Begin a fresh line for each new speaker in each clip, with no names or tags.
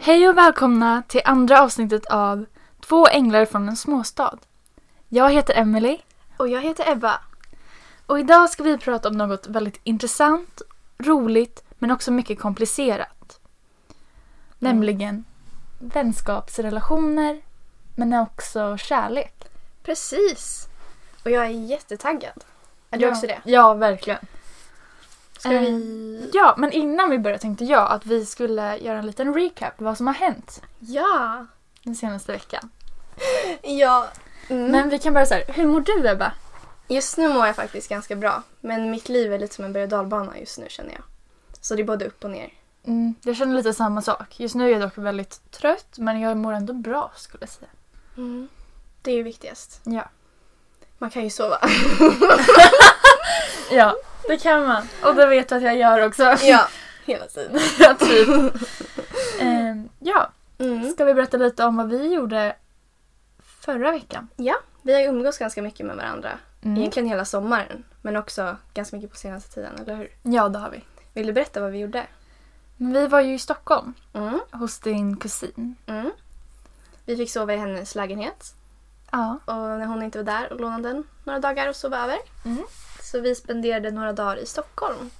Hej och välkomna till andra avsnittet av Två änglar från en småstad. Jag heter Emily
Och jag heter Ebba.
och idag ska vi prata om något väldigt intressant, roligt men också mycket komplicerat. Nämligen vänskapsrelationer men också kärlek.
Precis. Och jag är jättetaggad. Är du
ja.
också det?
Ja, verkligen.
Ska
Eh,
vi...
Ja, men innan vi börjar tänkte jag att vi skulle göra en liten recap vad som har hänt
Ja.
den senaste veckan.
Ja. Mm.
Men vi kan börja så här, hur mår du Ebba?
Just nu mår jag faktiskt ganska bra. Men mitt liv är lite som en berg och dalbana just nu känner jag. Så det är både upp och ner.
Mm, jag känner lite samma sak. Just nu är jag dock väldigt trött men jag mår ändå bra skulle jag säga.
Mm. Det är ju viktigast.
Ja.
Man kan ju sova.
ja, det kan man. Och det vet jag att jag gör också.
Hela tiden.
Ja, typ. Ehm, ja,
Mm.
ska vi berätta lite om vad vi gjorde förra veckan?
Ja. Vi har ju umgås ganska mycket med varandra.
Mm.
Egentligen hela sommaren. Men också ganska mycket på senaste tiden, eller hur?
Ja, det har vi.
Vill du berätta vad vi gjorde?
Men vi var ju i Stockholm
Mm.
hos din kusin.
Mm. Vi fick sova i hennes lägenhet.
Ja.
Och när hon inte var där och lånade den några dagar och sov över.
Mm.
Så vi spenderade några dagar i Stockholm.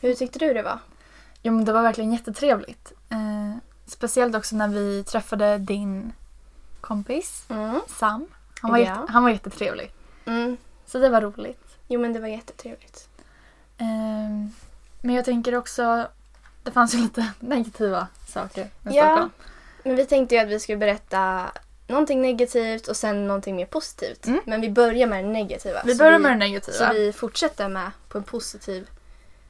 Hur tyckte du det var?
Jo, men det var verkligen jättetrevligt. Ehm, speciellt också när vi träffade din kompis
Mm.
Sam. Han var,
Ja.
jätte, han var jättetrevlig. Så det var roligt.
Jo men det var jättetrevligt.
Ehm, men jag tänker också, det fanns ju lite negativa saker med
Ja.
Stockholm.
Men vi tänkte ju att vi skulle berätta någonting negativt och sen någonting mer positivt.
Mm.
Men vi börjar med det negativa.
Vi
Så
börjar med det
Så
negativa.
alltså vi fortsätter med på en positiv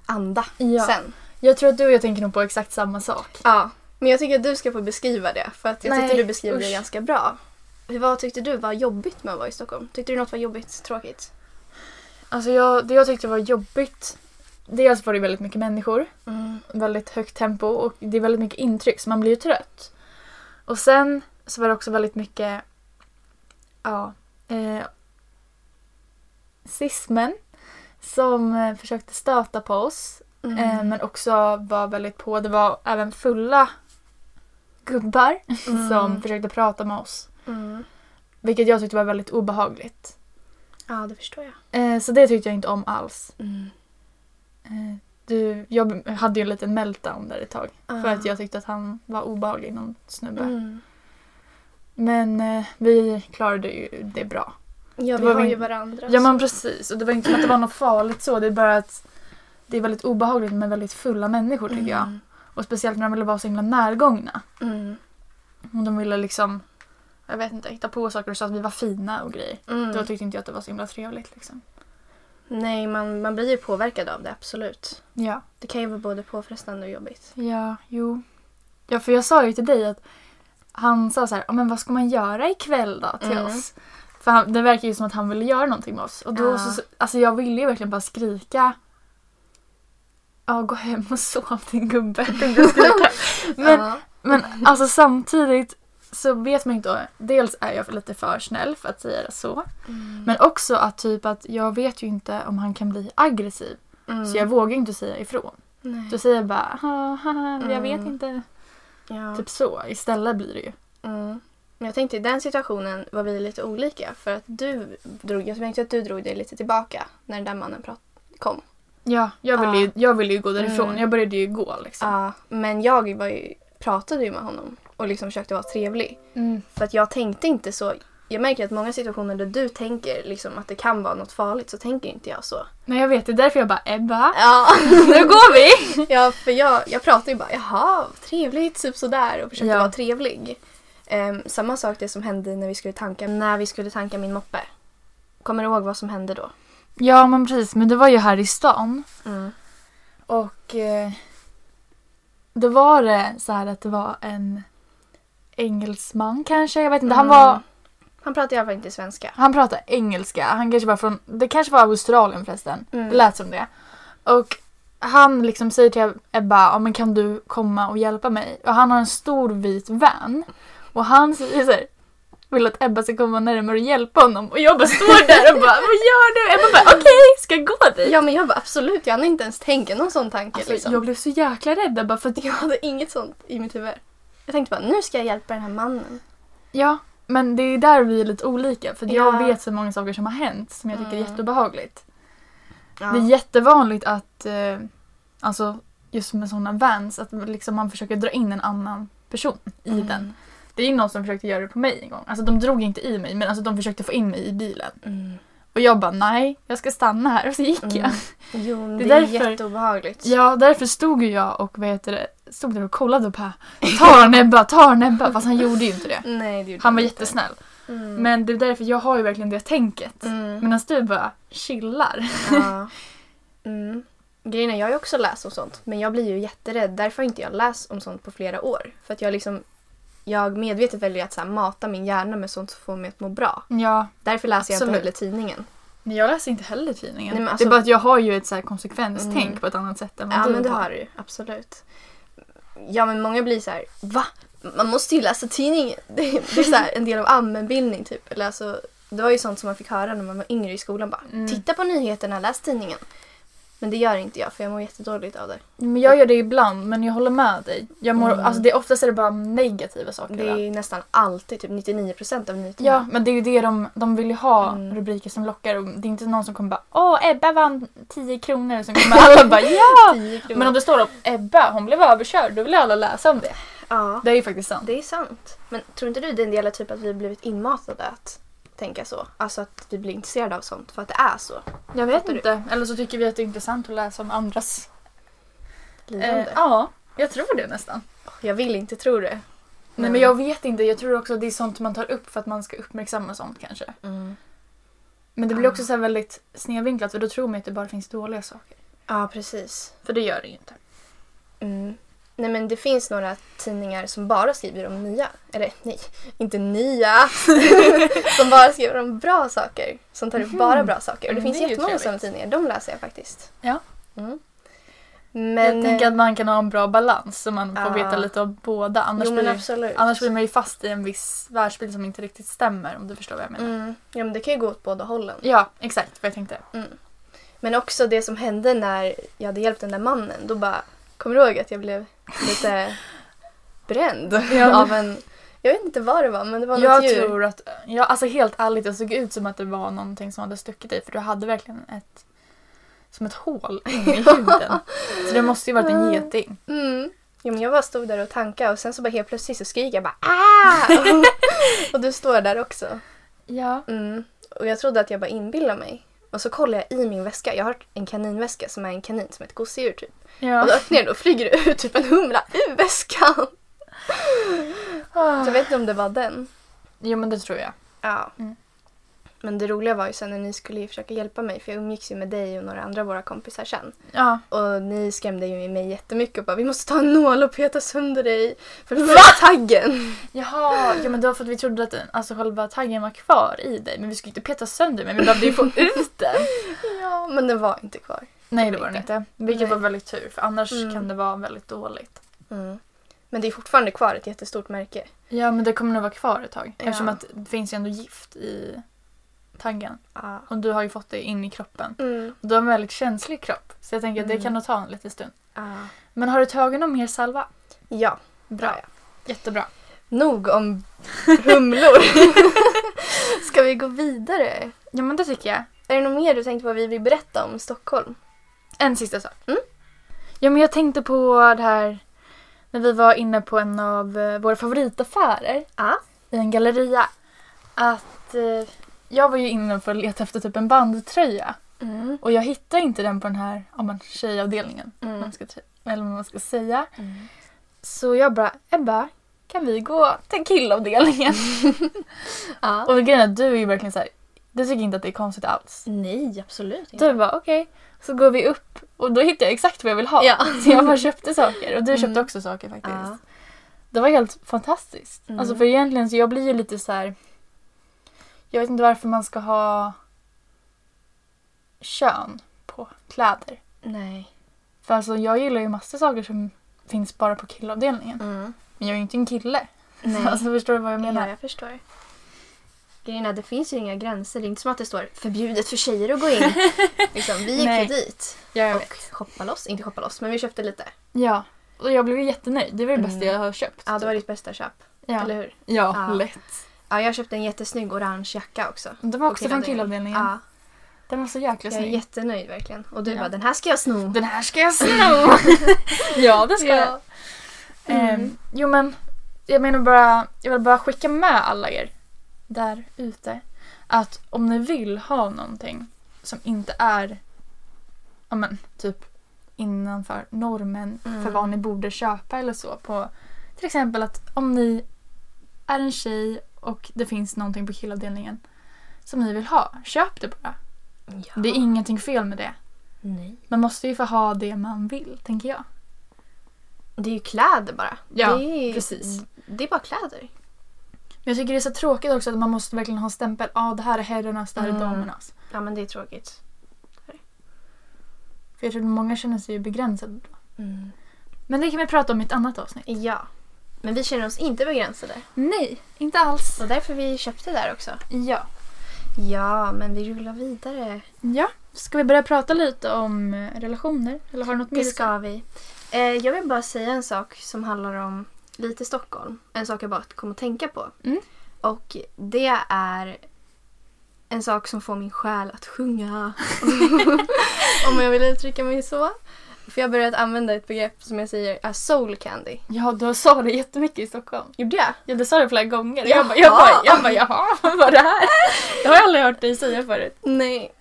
anda
Ja.
sen.
Jag tror att du och jag tänker nog på exakt samma sak.
Ja. Men jag tycker att du ska få beskriva det för att jag
Typ. Nej,
tyckte du beskrev det
usch.
ganska bra. Vad tyckte du var jobbigt med att vara i Stockholm? Tyckte du något var jobbigt, tråkigt?
Alltså jag, det jag tyckte var jobbigt, dels var det väldigt mycket människor, Mm. väldigt högt tempo och det är väldigt mycket intryck så man blir ju trött. Och sen så var det också väldigt mycket, ja, eh, cismen som eh, försökte stöta på oss
Mm.
Eh, Men också var väldigt på. Det var även fulla gubbar
Mm.
som försökte prata med oss.
Mm.
Vilket jag tyckte var väldigt obehagligt.
Ja, det förstår jag.
Eh, Så det tyckte jag inte om alls. Eh, Du, jag hade ju en liten meltdown där ett tag. För att jag tyckte att han var obehaglig, någon snubbe.
Ah. Mm.
Men eh, vi klarade ju det bra.
Ja,
Det
vi
var
har
min-
ju varandra.
Ja
så-
men precis. Och det var inte som att det var något farligt så. Det är bara att det är väldigt obehagligt med väldigt fulla människor tycker jag.
Mm.
Och speciellt när de ville vara så himla närgångna.
Mm.
Och de ville liksom, jag vet inte, hitta på saker och sa att vi var fina och grejer.
Mm.
Då tyckte inte jag att det var så himla trevligt liksom.
Nej, man, man blir ju påverkad av det, absolut.
Ja.
Det kan ju vara både påfrestande och jobbigt.
Ja, jo. Ja, för jag sa ju till dig att han sa så här, "Ja, men vad ska man göra ikväll då till
Mm.
oss? För han, det verkar ju som att han ville göra någonting med oss. Och då
Ja.
så, alltså jag ville ju verkligen bara skrika Ja, gå hem och sov din gubbe. tänkte jag skrika. Men
ja.
Men alltså samtidigt så vet man ju inte. Dels är jag lite för snäll för att säga det så. Men också att typ att jag vet ju inte om han kan bli aggressiv.
Mm.
Så jag vågar ju inte säga ifrån.
Nej.
Då säger jag bara "Ah, haha, jag vet
Mm.
inte.
Ja.
Typ så. Istället blir det ju.
Mm. Men jag tänkte i den situationen var vi lite olika för att du drog, jag tänkte att du drog dig lite tillbaka när den där mannen prat- kom.
Ja, jag ville, ju, jag ville ju gå därifrån.
Mm.
Jag började ju gå liksom.
Ja, Ah, men jag var ju, pratade ju med honom och liksom försökte vara trevlig.
Mm.
För att jag tänkte inte så. Jag märker att många situationer där du tänker liksom att det kan vara något farligt så tänker inte jag så.
Men jag vet, det är därför jag bara Ebba,
Ja,
nu går vi!
ja för jag, jag pratar ju bara jaha, trevligt, typ sådär och försöker
Ja.
vara trevlig. Ehm, samma sak det som hände när vi skulle tanka, när vi skulle tanka min moppe. Kommer du ihåg vad som hände då?
Ja men precis, men det var ju här i stan.
Mm.
Och eh, då var det så här att det var en engelsman kanske, jag vet inte. Han,
Mm.
var,
Han pratade i alla fall inte svenska.
han pratade engelska, han kanske var från, det kanske var Australien förresten.
Mm.
Det lät som det. Och han liksom säger till Ebba, ja men kan du komma och hjälpa mig? Och han har en stor vit van. Och han säger så här, vill att Ebba ska komma närmare och hjälpa honom. Och jag bara står där och bara, vad gör du? Ebba bara, okej, ska jag gå dit?
Ja men jag bara absolut, jag hann inte ens tänka någon sån tanke
Alltså,
liksom.
jag blev så jäkla rädd Ebba för att
Jag hade inget sånt i mitt huvud. Jag tänkte bara, nu ska jag hjälpa den här mannen.
Ja, men det är där vi är lite olika. För jag
Ja.
vet så många saker som har hänt som jag tycker är
Mm.
jätteobehagligt.
Ja.
Det är jättevanligt att, eh, alltså just med sådana vans, att liksom man försöker dra in en annan person i
Mm.
den. Det är ju någon som försökte göra det på mig en gång. Alltså de drog inte i mig men alltså de försökte få in mig i bilen.
Mm.
Och jag bara nej, jag ska stanna här. Och så gick
Mm.
jag.
Jo, men
Det
det,
är
är
därför-
jätteobehagligt.
Ja, därför stod ju jag och vad heter det, stod där och kollade på här. Tar han Ebba, tar han Ebba? Fast han gjorde ju inte det.
Nej, det gjorde
Han var
jag inte.
jättesnäll.
Mm.
Men det är därför jag har ju verkligen det tänket.
Mm.
Medan du bara chillar.
Ja. Mm. Grejen är, jag har ju också läst om sånt, men jag blir ju jätterädd. Därför har inte jag läst om sånt på flera år. För att jag liksom, jag medvetet väljer att så här, mata min hjärna med sånt som får mig att må bra.
Ja,
Därför läser jag inte
Absolut.
heller tidningen.
men jag läser inte heller tidningen.
Nej, men
Det
alltså-
är bara att jag har ju ett så här konsekvenstänk
Mm.
på ett annat sätt än vad
Ja,
du
men det har du ju. Absolut. Ja, men många blir så här, va? Man måste ju läsa tidningen. Det är, det är så här, en del av allmänbildning typ. Eller alltså, det var ju sånt som man fick höra när man var yngre i skolan. Bara,
Mm.
Titta på nyheterna, läs tidningen. Men det gör inte jag, för jag mår jättedåligt av det.
Men jag gör det ibland, men jag håller med dig. Jag mår,
Mm.
alltså det, oftast är det bara negativa saker.
Det är
va?
ju nästan alltid typ 99% av nyheterna.
Ja, men det är ju det de, de vill ju ha
Mm.
rubriker som lockar. Och det är inte någon som kommer bara “Åh, Ebba vann 10 kronor” och sen kommer alla bara “Ja!”
10 kronor.
Men om det står om “Ebba, hon blev överkörd”, då vill alla läsa om det.
Ja,
Det är ju faktiskt sant.
det är sant. Men tror inte du det är en del av typ att vi har blivit inmatade att tänka så? Alltså att vi blir intresserade av sånt för att det är så.
Jag vet
Fattar du?
inte. Eller så tycker vi att det är intressant att läsa om andras...
Lidande.
Eh, ja, jag tror det nästan.
Jag vill inte tro det.
Nej men jag vet inte, jag tror också att det är sånt man tar upp för att man ska uppmärksamma sånt kanske.
Mm.
Men det blir
Ah.
också så här väldigt snedvinklat för då tror man att det bara finns dåliga saker.
Ja, precis.
För det gör det ju inte.
Mm. Nej men det finns några tidningar som bara skriver om nya, eller nej, inte nya, som bara skriver om bra saker. Som tar upp bara bra saker. Och det
Mm,
finns
det är ju
jättemånga
trevligt.
sådana tidningar, de läser jag faktiskt.
Ja.
Mm. Men, eh,
jag tänker att man kan ha en bra balans så man får
Ja.
veta lite av båda. Annars,
jo, men
blir,
absolut.
annars blir man ju fast i en viss världsbild som inte riktigt stämmer om du förstår vad jag menar.
mm. Ja men det kan ju gå åt båda hållen. Mm.
Ja, exakt vad jag tänkte.
Men också det som hände när jag hade hjälpt den där mannen. Då bara, kommer du ihåg att jag blev lite bränd
Ja.
av en... Jag vet inte vad det var men det var något
Jag
djur.
tror att, ja, alltså helt ärligt det såg ut som att det var någonting som hade stuckit dig för du hade verkligen ett, som ett hål in i huden. så det måste ju varit en geting.
Mm. Jo, men jag bara stod där och tankade och sen så bara helt plötsligt så skriker jag bara ah! Och- och du står där också.
Ja.
Mm. Och jag trodde att jag bara inbillade mig. Och så kollar jag i min väska. Jag har en kaninväska som är en kanin som är ett gosedjur typ. Och då
ja.
öppnar jag den och flyger det ut typ en humla ur väskan.
Ah.
Så jag vet inte om det var den.
Jo men det tror jag.
Ja.
Mm.
Men det roliga var ju sen när ni skulle försöka hjälpa mig för jag umgicks ju med dig och några andra av våra kompisar sen.
Ja.
Och ni skrämde ju mig jättemycket och bara vi måste ta en nål och peta sönder dig. För det var taggen.
Jaha, ja, men det var för att vi trodde att den- alltså, själva taggen var kvar i dig men vi skulle inte peta sönder men vi behövde ju få ut den.
Ja, men den var inte kvar.
Nej det var den inte. Vilket
Nej.
var väldigt tur för annars
Mm.
kan det vara väldigt dåligt.
Men det är fortfarande kvar ett jättestort märke.
Ja men det kommer nog vara kvar ett tag eftersom
Ja.
att det finns ju ändå gift i taggen.
Ja.
Och du har ju fått det in i kroppen.
Mm.
Och du har en väldigt känslig kropp så jag tänker att det
Mm.
kan nog ta en liten stund.
Ja.
Men har du tagit någon mer salva?
ja.
Bra. Jättebra.
Nog om humlor. Ska vi gå vidare?
Ja men det tycker jag.
Är det något mer du tänkte på vi vill berätta om Stockholm?
En sista sak.
Mm.
Ja, men jag tänkte på det här när vi var inne på en av eh, våra favoritaffärer
Ja.
i en galleria. Att eh, jag var ju inne för att leta efter typ en bandtröja
Mm.
och jag hittade inte den på den här ja, men, tjejavdelningen. om
Mm.
Man ska, t- eller vad man ska säga. Så jag bara, Ebba, kan vi gå till killavdelningen?
Mm. Ja.
och grejen är att du är ju verkligen så här, du tycker inte att det är konstigt alls.
Nej, absolut
Du bara okej. Så går vi upp och då hittar jag exakt vad jag vill ha.
Ja.
Så jag bara köpte saker och du köpte
Mm.
också saker faktiskt.
Ja.
Det var helt fantastiskt.
Mm.
Alltså för egentligen så jag blir ju lite så här. Jag vet inte varför man ska ha kön på kläder.
Nej.
För alltså jag gillar ju massor saker som finns bara på killavdelningen.
Mm.
Men jag är ju inte en kille.
Nej.
Alltså förstår du vad jag menar?
Ja, jag förstår. Grejen är det finns ju inga gränser. Det är inte som att det står förbjudet för tjejer att gå in. liksom, vi gick ju
Nej.
dit
Ja, jag
och shoppa loss. Inte shoppa loss, men vi köpte lite.
Ja. Och jag blev ju jättenöjd. Det var det
Mm.
bästa jag har köpt.
Ja, det var ditt bästa köp.
ja.
Eller hur?
Ja,
Ja.
lätt.
Ja, jag köpte en jättesnygg orange jacka också.
De var också
På
från
killavdelningen.
killavdelningen.
Ja,
Den var så jäkla
jag är
snygg.
jättenöjd verkligen. Och du
Ja.
bara, den här ska jag sno.
Den här ska jag sno! ja, det ska jag.
Ja.
Ehm,
Mm.
jo men, jag menar bara, jag vill bara skicka med alla er där ute att om ni vill ha någonting som inte är, ja men typ innanför normen
Mm.
för vad ni borde köpa eller så på till exempel att om ni är en tjej och det finns någonting på killavdelningen som ni vill ha, köp det bara.
Ja.
Det är ingenting fel med det.
Nej.
Man måste ju få ha det man vill, tänker jag.
Det är ju kläder bara.
Ja,
det är,
precis.
Det är bara kläder.
Men jag tycker det är så tråkigt också att man måste verkligen ha en stämpel. Ja, ah, det här är herrarnas, det här är
Mm.
damernas.
Ja, men det är tråkigt.
För jag tror att många känner sig ju begränsade. Mm. Men det kan vi prata om i ett annat avsnitt.
Ja. Men vi känner oss inte begränsade.
Nej, inte alls.
Och därför vi köpte där också.
Ja.
Ja, men vi rullar vidare.
Ja, ska vi börja prata lite om eh, relationer? Eller har du något mer?
Det ska vi. Eh, jag vill bara säga en sak som handlar om lite Stockholm. En sak jag bara kom att tänka på.
Mm.
Och det är en sak som får min själ att sjunga. Om jag vill uttrycka mig så. För jag har börjat använda ett begrepp som jag säger är soul candy.
Ja, du sa det jättemycket i Stockholm.
Gjorde jag?
Ja, du sa det flera gånger.
Jaha.
Jag bara, jag bara, jag bara jaha, vad var det här? Det har jag aldrig hört dig säga förut.
Nej.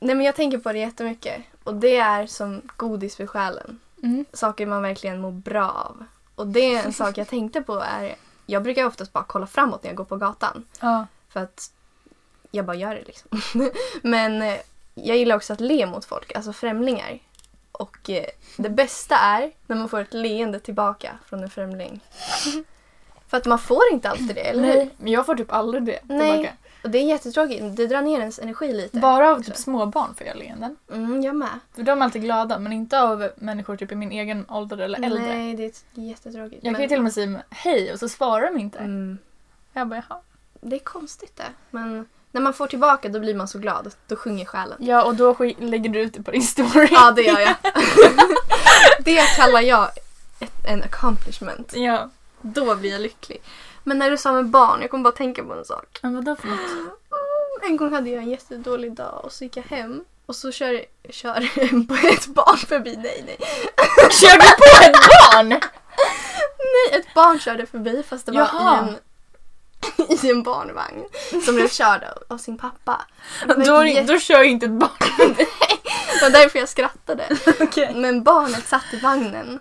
Nej men jag tänker på det jättemycket. Och det är som godis för själen.
Mm.
saker man verkligen mår bra av. Och det är en sak jag tänkte på är, jag brukar oftast bara kolla framåt när jag går på gatan.
Ja.
För att jag bara gör det liksom. Men eh, jag gillar också att le mot folk, alltså främlingar. Och eh, det bästa är när man får ett leende tillbaka från en främling. För att man får inte alltid det, eller hur?
Nej, men jag får typ aldrig det
Nej.
tillbaka.
Och det är jättetråkigt, det drar ner ens energi lite.
Bara av
också.
typ småbarn får jag leenden.
Mm, jag med.
För de är alltid glada, men inte av människor typ i min egen ålder eller äldre.
Nej, det är jättetråkigt.
Jag kan ju till och med säga hej och så svarar de inte.
mm.
Jag bara jaha.
Det är konstigt det. Men när man får tillbaka då blir man så glad. Då sjunger själen.
Ja och då sk- lägger du ut det på din story.
Ja, det gör jag. det kallar jag ett, en accomplishment.
ja.
Då blir jag lycklig. Men när du sa med barn, jag kommer bara tänka på en sak.
Men vadå för något?
En gång hade jag en jättedålig dag och så gick jag hem och så kör, kör en på ett barn förbi. Nej, nej.
Kör du på ett barn?
Nej, ett barn körde förbi fast det var
Jaha.
i en i en barnvagn som blev körd av- av sin pappa. Det var ett
Då,
jätte-
då kör ju inte ett barn.
Det var därför jag skrattade.
Okej.
Men barnet satt i vagnen.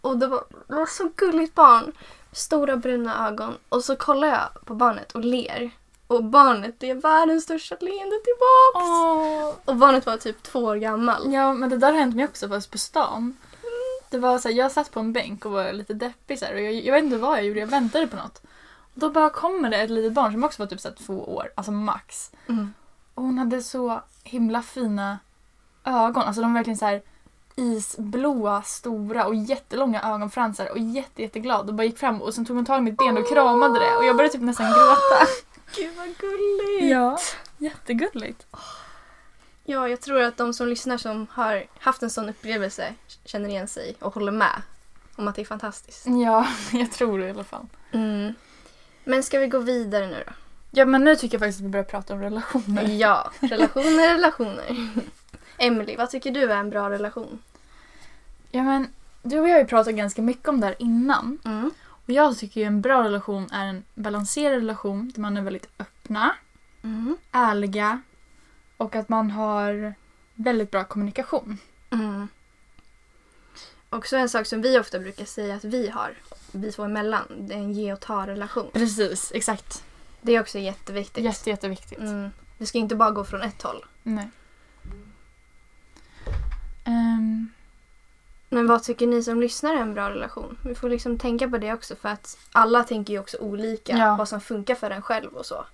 Och det var, det var så gulligt barn. Stora bruna ögon. Och så kollar jag på barnet och ler. Och barnet det är världens största leende tillbaks. Och barnet var typ två år gammal.
Ja men det där har hänt mig också fast på stan. Det var så här, jag satt på en bänk och var lite deppig så här, och jag, jag vet inte vad jag gjorde, jag väntade på något. Och då bara kommer det ett litet barn som också var typ så här, två år, alltså max.
Mm.
Och hon hade så himla fina ögon. Alltså de var verkligen så här isblåa, stora och jättelånga ögonfransar och jätte, jätteglad och bara gick fram och sen tog hon tag i mitt ben och kramade det och jag började typ nästan gråta.
Gud vad gulligt.
Ja,
Ja.
jättegulligt.
ja, jag tror att de som lyssnar som har haft en sån upplevelse känner igen sig och håller med om att det är fantastiskt.
Ja, jag tror det i alla fall.
Mm. Men ska vi gå vidare nu då?
Ja men nu tycker jag faktiskt att vi börjar prata om relationer.
Ja, relationer, relationer. Emily, vad tycker du är en bra relation?
Ja men du och jag har ju pratat ganska mycket om det här innan.
Mm.
Och jag tycker ju en bra relation är en balanserad relation där man är väldigt öppna.
Mm.
ärliga och att man har väldigt bra kommunikation.
Mm. Också en sak som vi ofta brukar säga att vi har, vi två emellan, det är en ge och ta-relation.
Precis, exakt.
Det är också jätteviktigt.
Jätte, jätteviktigt.
Mm. Det ska inte bara gå från ett håll.
Nej. Ehm,
Men vad tycker ni som lyssnar är en bra relation? Vi får liksom tänka på det också för att alla tänker ju också olika
Ja.
vad som funkar för en själv och så.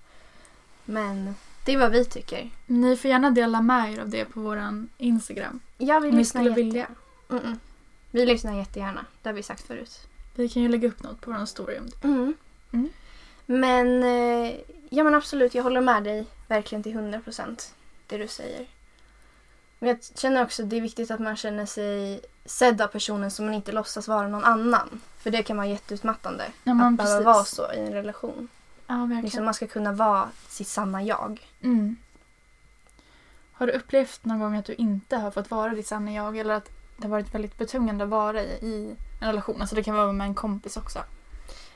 Men det är vad vi tycker.
ni får gärna dela med er av det på vår Instagram.
Ja, vi
Om ni
lyssnar
skulle vilja.
jättegärna. Mm-mm. Vi lyssnar jättegärna, det har vi sagt förut.
Vi kan ju lägga upp något på vår story om det.
Mm.
Mm.
Men, eh, ja men absolut, jag håller med dig verkligen till 100 procent det du säger. Men jag känner också att det är viktigt att man känner sig sedd av personen som man inte låtsas vara någon annan. För det kan vara jätteutmattande.
Ja, men
att behöva
precis.
vara så i en relation.
Ja, verkligen.
Liksom, man ska kunna vara sitt sanna jag.
Mm. Har du upplevt någon gång att du inte har fått vara ditt sanna jag eller att det har varit väldigt betungande att vara i, i en relation? Alltså det kan vara med en kompis också.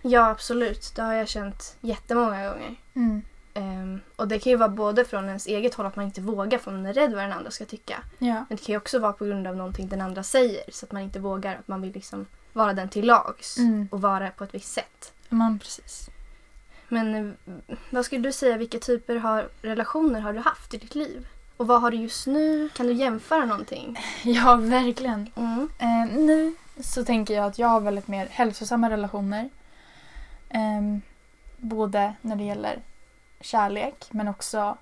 Ja, absolut. Det har jag känt jättemånga gånger.
Mm.
Ehm, och det kan ju vara både från ens eget håll att man inte vågar för man är rädd vad den andra ska tycka.
Ja.
Men det kan ju också vara på grund av någonting den andra säger så att man inte vågar. Att man vill liksom vara den till lags
Mm.
och vara på ett visst sätt.
Men precis.
Men eh, vad skulle du säga, vilka typer har, relationer har du haft i ditt liv? Och vad har du just nu? Kan du jämföra någonting?
Ja, verkligen.
Mm.
Eh, nu så tänker jag att jag har väldigt mer hälsosamma relationer. Ehm, både när det gäller kärlek men också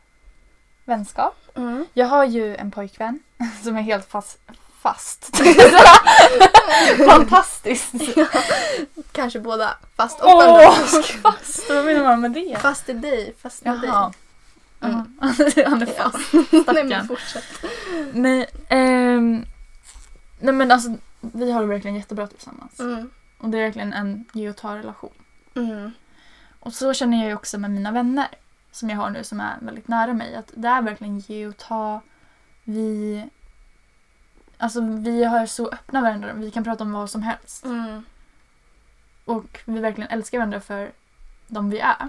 vänskap.
Mm.
Jag har ju en pojkvän som är helt fast. fast. Fantastiskt!
Kanske båda, fast och
Åh,
fast.
fast! Vad menar man med det?
Fast i dig, fast i dig.
Jaha.
Mm.
Jaha. Han är
Ja.
fast.
Nej
Stackarn.
men fortsätt.
Nej, ehm, nej men alltså vi har det verkligen jättebra tillsammans.
Mm.
Och det är verkligen en ge och ta relation.
Mm.
Och så känner jag ju också med mina vänner som jag har nu som är väldigt nära mig att det är verkligen ge och ta. Vi, alltså vi har så öppna varandra. Vi kan prata om vad som helst.
Mm.
Och vi verkligen älskar varandra för de vi är.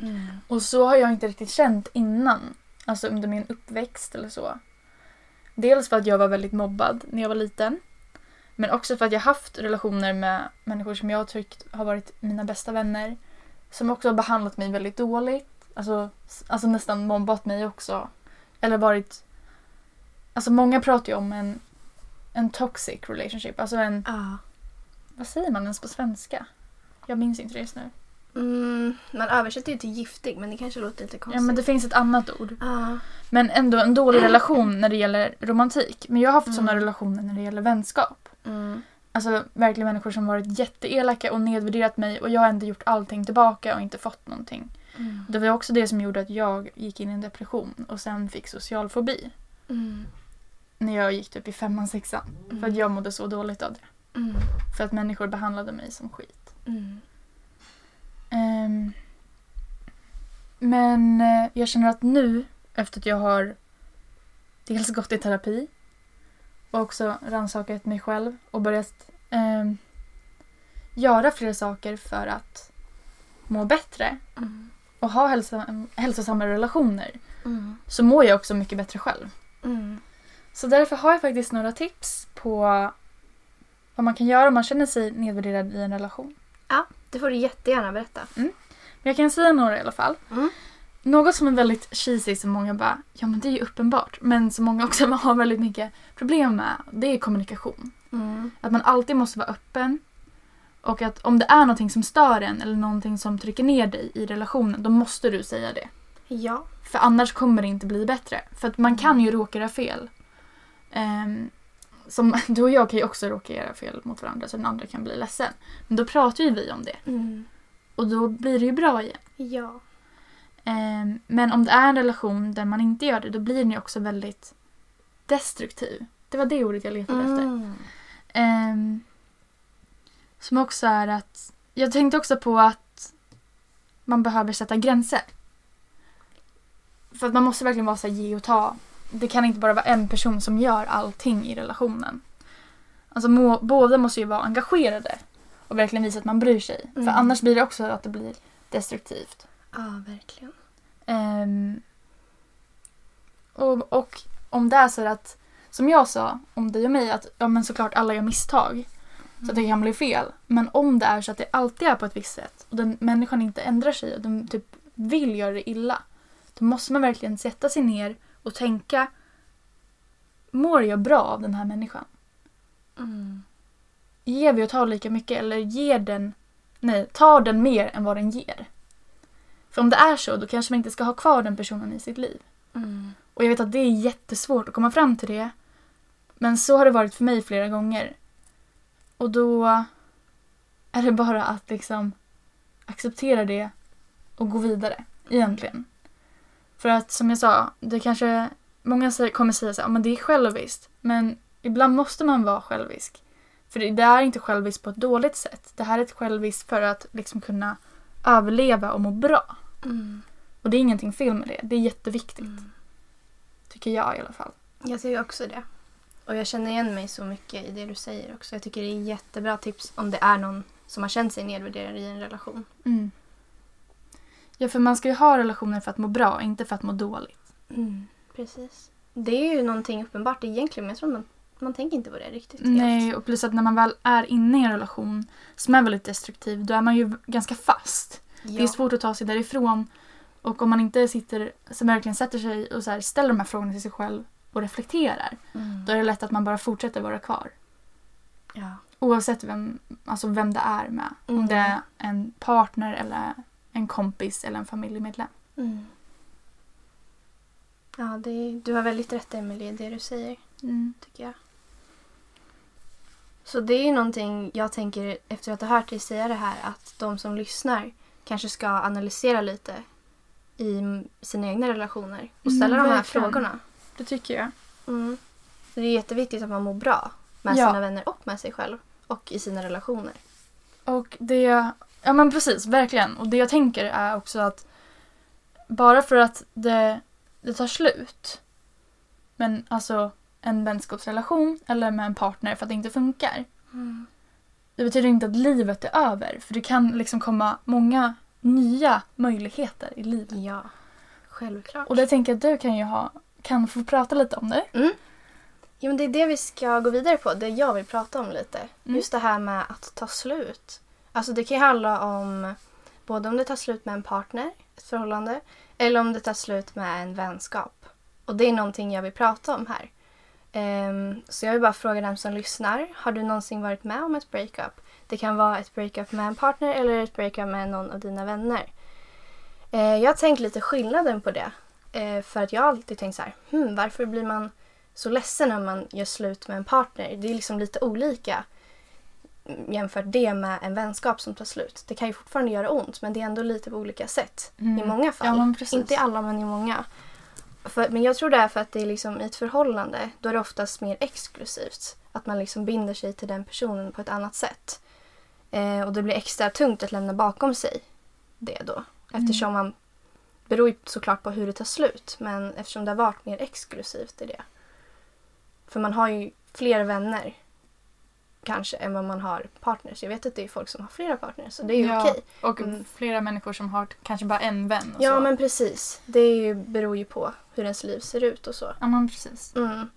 Mm.
Och så har jag inte riktigt känt innan, alltså under min uppväxt eller så. Dels för att jag var väldigt mobbad när jag var liten. Men också för att jag haft relationer med människor som jag har tyckt har varit mina bästa vänner. Som också har behandlat mig väldigt dåligt. Alltså, s- alltså nästan mobbat mig också. Eller varit... Alltså många pratar ju om en, en toxic relationship. Alltså en...
Ja.
Vad säger man ens på svenska? Jag minns inte det just nu.
Mm. Man översätter ju till giftig men det kanske låter lite konstigt.
Ja men det finns ett annat ord.
Ja.
Men ändå en dålig relation när det gäller romantik. Men jag har haft
Mm.
sådana relationer när det gäller vänskap.
Mm.
Alltså verkligen människor som varit jätteelaka och nedvärderat mig och jag har ändå gjort allting tillbaka och inte fått någonting.
Mm.
Det var också det som gjorde att jag gick in i en depression och sen fick social fobi.
Mm.
När jag gick typ i femman, sexan.
Mm.
För att jag mådde så dåligt av det.
Mm.
För att människor behandlade mig som skit.
Mm.
Ehm. men eh, jag känner att nu, efter att jag har dels gått i terapi och också rannsakat mig själv och börjat ehm, göra fler saker för att må bättre
Mm.
och ha hälsa, hälsosamma relationer
Mm.
så mår jag också mycket bättre själv.
Mm.
Så därför har jag faktiskt några tips på vad man kan göra om man känner sig nedvärderad i en relation.
Det får du jättegärna berätta.
Men jag kan säga några i alla fall.
Mm.
Något som är väldigt cheesy som många bara, ja men det är ju uppenbart, men som många också har väldigt mycket problem med, det är kommunikation.
Mm.
Att man alltid måste vara öppen och att om det är någonting som stör en eller någonting som trycker ner dig i relationen, då måste du säga det.
Ja.
För annars kommer det inte bli bättre. För att man kan ju råka göra fel. Ehm, som, du och jag kan ju också råka göra fel mot varandra så den andra kan bli ledsen. Men då pratar ju vi om det
Mm.
och då blir det ju bra igen.
Ja.
Ehm, Men om det är en relation där man inte gör det, då blir den ju också väldigt destruktiv. Det var det ordet jag letade
Mm.
efter. Ehm, Som också är att... Jag tänkte också på att man behöver sätta gränser. För att man måste verkligen vara så här, ge och ta. Det kan inte bara vara en person som gör allting i relationen. Alltså må, båda måste ju vara engagerade och verkligen visa att man bryr sig. För
Mm.
annars blir det också att det blir destruktivt.
Ja, verkligen.
Ehm, och, och om det är så att, som jag sa om dig och mig, att ja, men såklart alla gör misstag. Så att det kan bli fel. Men om det är så att det alltid är på ett visst sätt och den människan inte ändrar sig och den typ vill göra det illa. Då måste man verkligen sätta sig ner och tänka. Mår jag bra av den här människan?
Mm.
Ger vi och tar lika mycket eller ger den... Nej, tar den mer än vad den ger? För om det är så, då kanske man inte ska ha kvar den personen i sitt liv.
Mm.
Och jag vet att det är jättesvårt att komma fram till det. Men så har det varit för mig flera gånger. Och då är det bara att liksom acceptera det och gå vidare egentligen. För att som jag sa, det kanske, många säger- kommer säga så här, "Ja, men det är själviskt. Men ibland måste man vara självisk. För det det är inte självisk på ett dåligt sätt. Det här är ett självisk för att liksom kunna överleva och må bra.
Mm.
Och det är ingenting fel med det. Det är jätteviktigt. Tycker jag i alla fall.
Jag tycker också det. Och jag känner igen mig så mycket i det du säger också. Jag tycker det är jättebra tips om det är någon som har känt sig nedvärderad i en relation.
Mm. Ja, för man ska ju ha relationer för att må bra, inte för att må dåligt. Mm.
Precis. Det är ju någonting uppenbart egentligen men jag tror man, man tänker inte på det riktigt.
Nej, och plus att när man väl är inne i en relation som är väldigt destruktiv, då är man ju ganska fast. Det är
Ja.
svårt att ta sig därifrån. Och om man inte sitter, så verkligen sätter sig och så här, ställer de här frågorna till sig själv och reflekterar,
Mm.
då är det lätt att man bara fortsätter vara kvar.
Ja.
Oavsett vem, alltså vem det är med. Om
Mm.
det är en partner eller en kompis eller en familjemedlem.
Mm. Ja, det är, du har väldigt rätt Emelie i det du säger.
Mm,
tycker jag. Så det är ju någonting jag tänker efter att ha hört dig säga det här att de som lyssnar kanske ska analysera lite i m- sina egna relationer och ställa
Mm,
de här
verkligen.
frågorna.
Det tycker jag.
Mm. Så det är jätteviktigt att man mår bra med
Ja.
sina vänner och med sig själv och i sina relationer.
Och det, ja men precis, verkligen. Och det jag tänker är också att bara för att det, det tar slut, men alltså en vänskapsrelation eller med en partner för att det inte funkar, Mm. det betyder inte att livet är över. För det kan liksom komma många nya möjligheter i livet.
Ja, självklart.
Och det tänker jag att du kan ju ha, kan få prata lite om nu.
Ja, men det är det vi ska gå vidare på, det jag vill prata om lite.
Mm.
Just det här med att ta slut. Alltså det kan ju handla om både om det tar slut med en partner, ett förhållande, eller om det tar slut med en vänskap. Och det är någonting jag vill prata om här. Ehm, så jag vill bara fråga dem som lyssnar, har du någonsin varit med om ett breakup? Det kan vara ett breakup med en partner eller ett breakup med någon av dina vänner. Eh, jag har tänkt lite skillnaden på det. Eh, för att jag har alltid tänkt så här, hmm, varför blir man så ledsen när man gör slut med en partner? Det är liksom lite olika mm, jämfört det med en vänskap som tar slut. Det kan ju fortfarande göra ont men det är ändå lite på olika sätt
Mm.
i många fall.
Ja, men precis.
Inte i alla men i många. För, men jag tror det är för att det är liksom, i ett förhållande då är det oftast mer exklusivt. Att man liksom binder sig till den personen på ett annat sätt. Eh, och det blir extra tungt att lämna bakom sig det då.
Mm.
Eftersom man beror ju såklart på hur det tar slut men eftersom det har varit mer exklusivt i det. För man har ju fler vänner kanske än vad man har partners. Jag vet att det är folk som har flera partners så det är ju
Ja,
okej.
Och
Mm.
flera människor som har kanske bara en vän och
Ja
så.
men precis. Det är ju, beror ju på hur ens liv ser ut och så.
ja men precis.
Mm.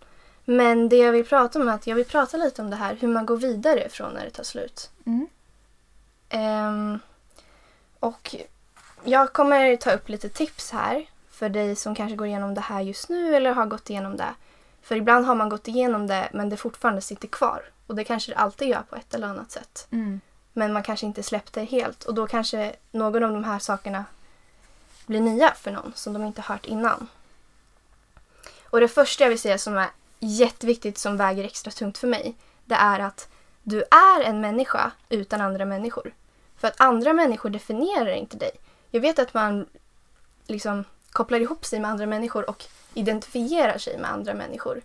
Men det jag vill prata om är att jag vill prata lite om det här hur man går vidare från när det tar slut.
Mm.
Ehm, och jag kommer ta upp lite tips här för dig som kanske går igenom det här just nu eller har gått igenom det. För ibland har man gått igenom det men det fortfarande sitter kvar. Och det kanske det alltid gör på ett eller annat sätt.
Mm.
Men man kanske inte släppte det helt och då kanske någon av de här sakerna blir nya för någon som de inte hört innan. Och det första jag vill säga som är jätteviktigt som väger extra tungt för mig det är att du är en människa utan andra människor. För att andra människor definierar inte dig. Jag vet att man liksom kopplar ihop sig med andra människor och identifierar sig med andra människor.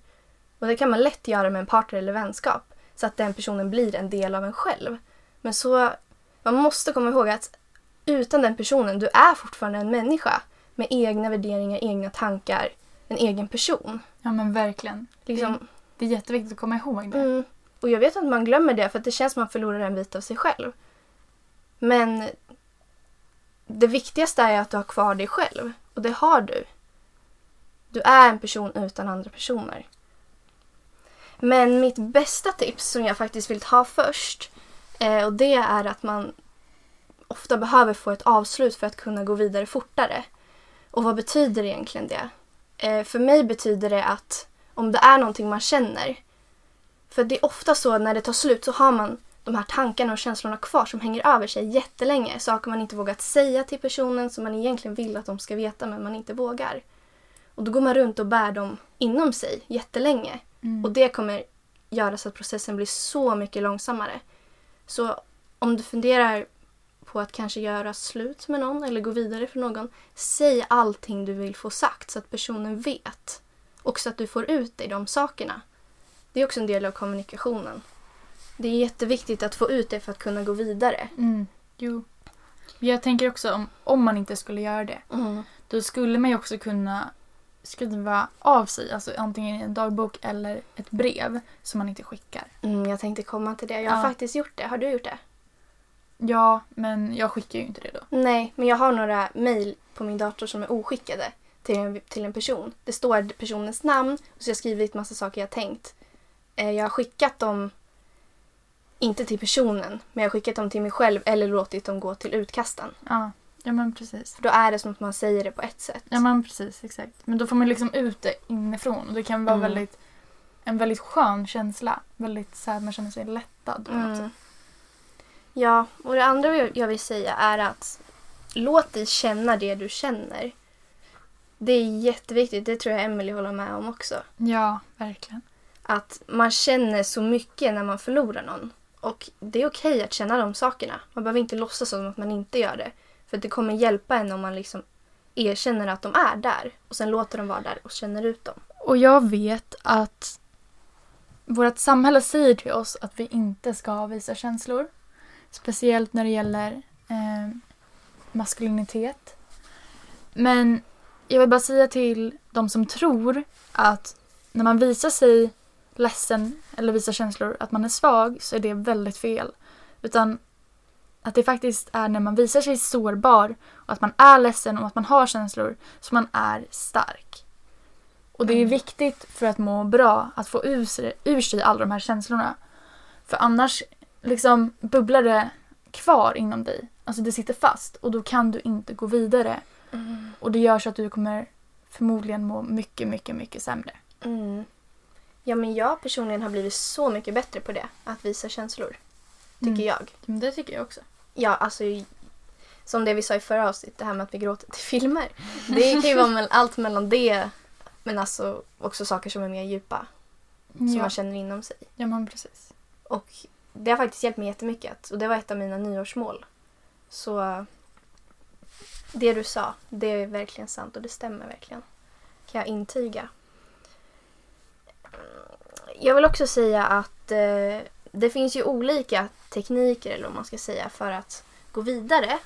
Och det kan man lätt göra med en partner eller vänskap så att den personen blir en del av en själv. Men så, man måste komma ihåg att utan den personen, du är fortfarande en människa med egna värderingar, egna tankar, en egen person.
Ja men verkligen.
Liksom,
Det är jätteviktigt att komma ihåg det.
Mm. Och jag vet att man glömmer det för att det känns som att man förlorar en bit av sig själv. Men det viktigaste är att du har kvar dig själv. Och det har du. Du är en person utan andra personer. Men mitt bästa tips som jag faktiskt vill ta först eh, och det är att man ofta behöver få ett avslut för att kunna gå vidare fortare. Och vad betyder egentligen det? Eh, för mig betyder det att om det är någonting man känner för det är ofta så när det tar slut så har man de här tankarna och känslorna kvar som hänger över sig jättelänge. Saker man inte vågat säga till personen som man egentligen vill att de ska veta men man inte vågar. Och då går man runt och bär dem inom sig jättelänge.
Mm.
Och det kommer göra så att processen blir så mycket långsammare. Så om du funderar på att kanske göra slut med någon eller gå vidare för någon. Säg allting du vill få sagt så att personen vet. Och så att du får ut dig de sakerna. Det är också en del av kommunikationen. Det är jätteviktigt att få ut det för att kunna gå vidare.
Mm, jo. Jag tänker också om, om man inte skulle göra det. Då skulle man ju också kunna skriva av sig, alltså antingen i en dagbok eller ett brev som man inte skickar.
Mm, jag tänkte komma till det. Jag har
Ja.
faktiskt gjort det. Har du gjort det?
Ja, men jag skickar ju inte det då.
Nej, men jag har några mejl på min dator som är oskickade till en, till en person. Det står personens namn och så har jag skrivit massa saker jag tänkt. Eh, Jag har skickat dem, inte till personen, men jag har skickat dem till mig själv eller låtit dem gå till utkasten.
Ja, ja men precis.
För då är det som att man säger det på ett sätt.
Ja men precis, exakt. Men då får man liksom ut det inifrån och det kan vara
Mm.
väldigt, en väldigt skön känsla. Väldigt så här, man känner sig lättad. på något
Mm.
sätt.
Ja, och det andra jag- jag vill säga är att låt dig känna det du känner. Det är jätteviktigt, det tror jag Emily håller med om också.
Ja, verkligen.
Att man känner så mycket när man förlorar någon. Och det är okej att känna de sakerna. Man behöver inte låtsas som att man inte gör det. För det kommer hjälpa en om man liksom erkänner att de är där. Och sen låter dem vara där och känner ut dem.
Och jag vet att vårt samhälle säger till oss att vi inte ska visa känslor. Speciellt när det gäller eh, maskulinitet. Men jag vill bara säga till de som tror att när man visar sig ledsen eller visar känslor att man är svag så är det väldigt fel. Utan att det faktiskt är när man visar sig sårbar och att man är ledsen och att man har känslor som man är stark. Och det är
Mm.
viktigt för att må bra att få ur sig, ur sig alla de här känslorna. För annars liksom bubblar det kvar inom dig. Alltså det sitter fast och då kan du inte gå vidare. Och det gör så att du kommer förmodligen må mycket, mycket, mycket sämre.
Mm. Ja, men jag personligen har blivit så mycket bättre på det. Att visa känslor. Tycker
Mm.
jag.
Men det tycker jag också.
Ja, alltså som det vi sa i förra avsnittet, det här med att vi gråter till filmer. Det kan ju vara mell- allt mellan det, men alltså också saker som är mer djupa. Som
Mm, ja.
man känner inom sig.
ja, men precis.
Och det har faktiskt hjälpt mig jättemycket. att- Och det var ett av mina nyårsmål. Så eh, det du sa, det är verkligen sant och det stämmer verkligen. Kan jag intyga. Mm, Jag vill också säga att eh, det finns ju olika tekniker eller vad man ska säga för att gå vidare.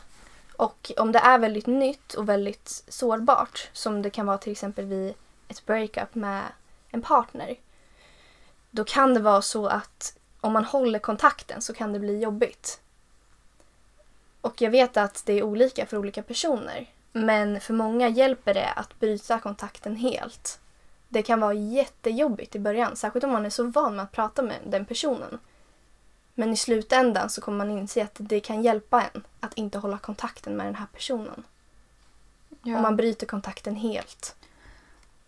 Och om det är väldigt nytt och väldigt sårbart som det kan vara till exempel vid ett breakup med en partner. Då kan det vara så att om man håller kontakten så kan det bli jobbigt. Och jag vet att det är olika för olika personer. Men för många hjälper det att bryta kontakten helt. Det kan vara jättejobbigt i början, särskilt om man är så van med att prata med den personen. Men i slutändan så kommer man inse att det kan hjälpa en att inte hålla kontakten med den här personen. Om man bryter kontakten helt.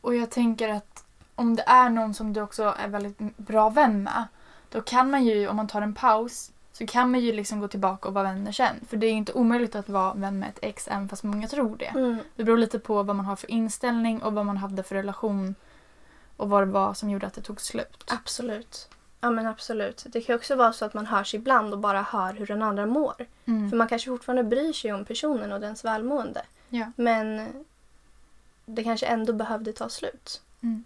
Och jag tänker att om det är någon som du också är väldigt bra vän med, då kan man ju, om man tar en paus, så kan man ju liksom gå tillbaka och vara vänner sen. För det är ju inte omöjligt att vara vän med ett ex, även fast många tror det.
Mm.
Det beror lite på vad man har för inställning och vad man hade för relation och vad det var som gjorde att det tog slut.
Absolut. Ja men absolut. Det kan ju också vara så att man hörs ibland och bara hör hur den andra mår.
Mm.
För man kanske fortfarande bryr sig om personen och dens välmående.
Ja.
Men det kanske ändå behövde ta slut.
Mm.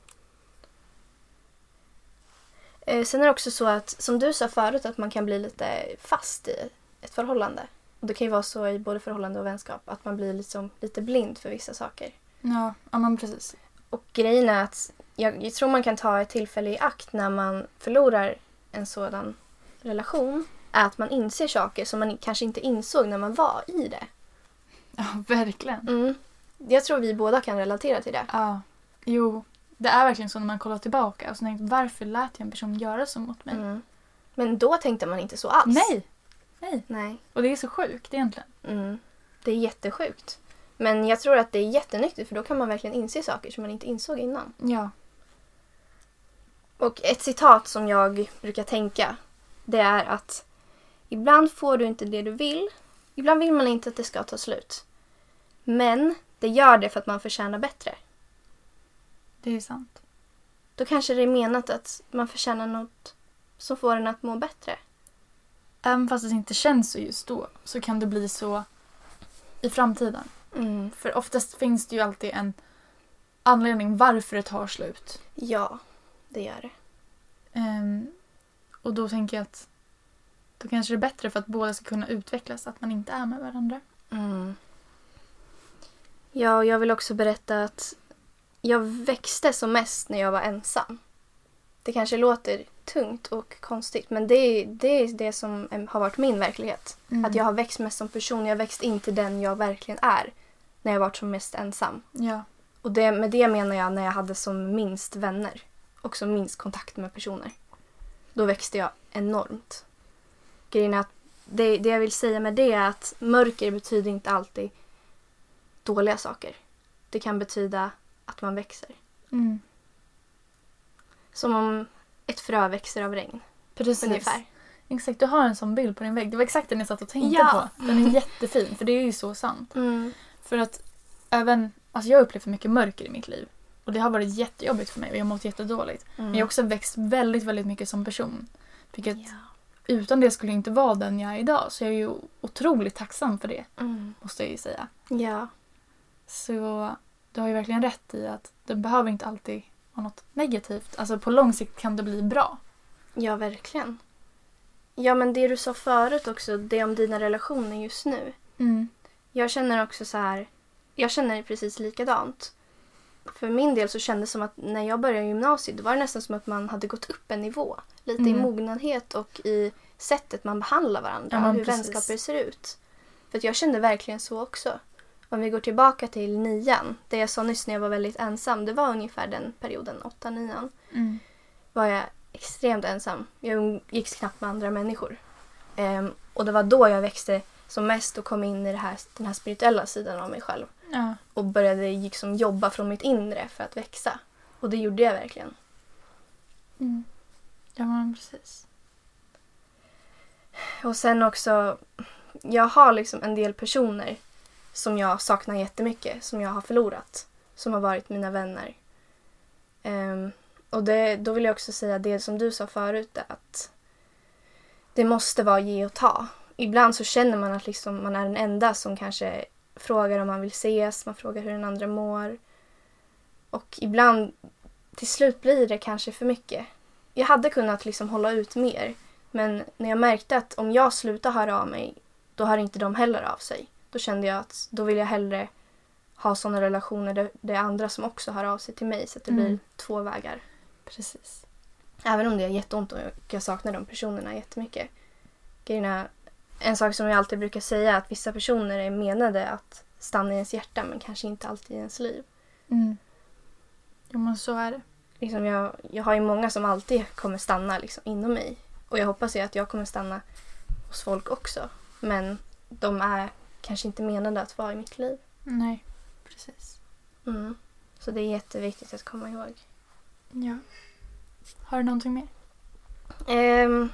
Eh, Sen är det också så att, som du sa förut, att man kan bli lite fast i ett förhållande. Och det kan ju vara så i både förhållande och vänskap, att man blir liksom lite blind för vissa saker.
Ja, ja, men precis.
Och grejen är att jag, jag tror man kan ta ett tillfälle i akt när man förlorar en sådan relation. Är att man inser saker som man kanske inte insåg när man var i det.
Ja, verkligen.
Mm. Jag tror vi båda kan relatera till det.
Ja. Jo, det är verkligen så när man kollar tillbaka och så tänker varför lät jag en person göra så mot mig?
Mm. Men då tänkte man inte så alls.
Nej!
Nej.
Och det är så sjukt egentligen.
Mm. Det är jättesjukt. Men jag tror att det är jättenyttigt för då kan man verkligen inse saker som man inte insåg innan.
Ja.
Och ett citat som jag brukar tänka det är att ibland får du inte det du vill. Ibland vill man inte att det ska ta slut. Men det gör det för att man förtjänar bättre.
Det är sant.
Då kanske det är menat att man förtjänar något som får en att må bättre.
Även fast det inte känns så just då så kan det bli så i framtiden. För oftast finns det ju alltid en anledning varför det tar slut.
Ja, det gör det.
Ehm, och då tänker jag att då kanske det är bättre för att båda ska kunna utvecklas att man inte är med varandra.
Ja, och jag vill också berätta att jag växte som mest när jag var ensam. Det kanske låter tungt och konstigt men det är det, är det som em, har varit min verklighet. Att jag har växt mest som person, jag har växt in till den jag verkligen är när jag varit som mest ensam.
Mm. Ja.
Och det, med det menar jag när jag hade som minst vänner och som minst kontakt med personer. Då växte jag enormt. Grejen är att det, det jag vill säga med det är att mörker betyder inte alltid dåliga saker. Det kan betyda att man växer.
Mm.
Som om ett frö växer av regn,
Precis.
ungefär.
Exakt, du har en sån bild på din vägg. Det var exakt den jag satt och tänkte
Ja.
på. Den är jättefin, för det är ju så sant.
Mm.
För att även, alltså jag har upplevt mycket mörker i mitt liv. Och det har varit jättejobbigt för mig och jag har mått jättedåligt. Men jag har också växt väldigt, väldigt mycket som person. Vilket
Ja.
utan det skulle jag inte vara den jag är idag. Så jag är ju otroligt tacksam för det,
Mm.
måste jag ju säga.
ja.
Så du har ju verkligen rätt i att det behöver inte alltid vara något negativt. Alltså på lång sikt kan det bli bra.
Ja, verkligen. Ja, men det du sa förut också, det om dina relationer just nu.
Mm.
Jag känner också så här, jag känner precis likadant. För min del så kändes det som att när jag började gymnasiet då var det nästan som att man hade gått upp en nivå. Lite i
Mm.
mognadhet och i sättet man behandlar varandra,
Ja, men
hur
precis.
vänskaper ser ut. För att jag kände verkligen så också. Om vi går tillbaka till nian, det jag sa nyss när jag var väldigt ensam, det var ungefär den perioden, åtta, nian,
Mm.
var jag extremt ensam. Jag umgicks knappt med andra människor. Ehm, och det var då jag växte som mest och kom in i det här, den här spirituella sidan av mig själv
Ja.
och började liksom jobba från mitt inre för att växa. Och det gjorde jag verkligen.
Mm. Ja, men precis.
Och sen också, jag har liksom en del personer som jag saknar jättemycket, som jag har förlorat, som har varit mina vänner. Ehm, och det, då vill jag också säga det som du sa förut, att det måste vara ge och ta. Ibland så känner man att liksom man är den enda som kanske frågar om man vill ses, man frågar hur den andra mår. Och ibland, till slut blir det kanske för mycket. Jag hade kunnat liksom hålla ut mer, men när jag märkte att om jag slutar höra av mig, då hör inte de heller av sig. Då kände jag att då vill jag hellre ha sådana relationer där det är andra som också hör av sig till mig så att det
Mm.
blir två vägar.
Precis.
Även om det är jätteont och jag saknar de personerna jättemycket. Grejen är, en sak som jag alltid brukar säga är att vissa personer är menade att stanna i ens hjärta men kanske inte alltid i ens liv.
Mm. Jo, men så är det.
Liksom jag, jag har ju många som alltid kommer stanna liksom inom mig. Och jag hoppas ju att jag kommer stanna hos folk också. Men de är kanske inte menade att vara i mitt liv.
Nej, precis.
Mm. Så det är jätteviktigt att komma ihåg.
Ja. Har du någonting mer?
Ehm,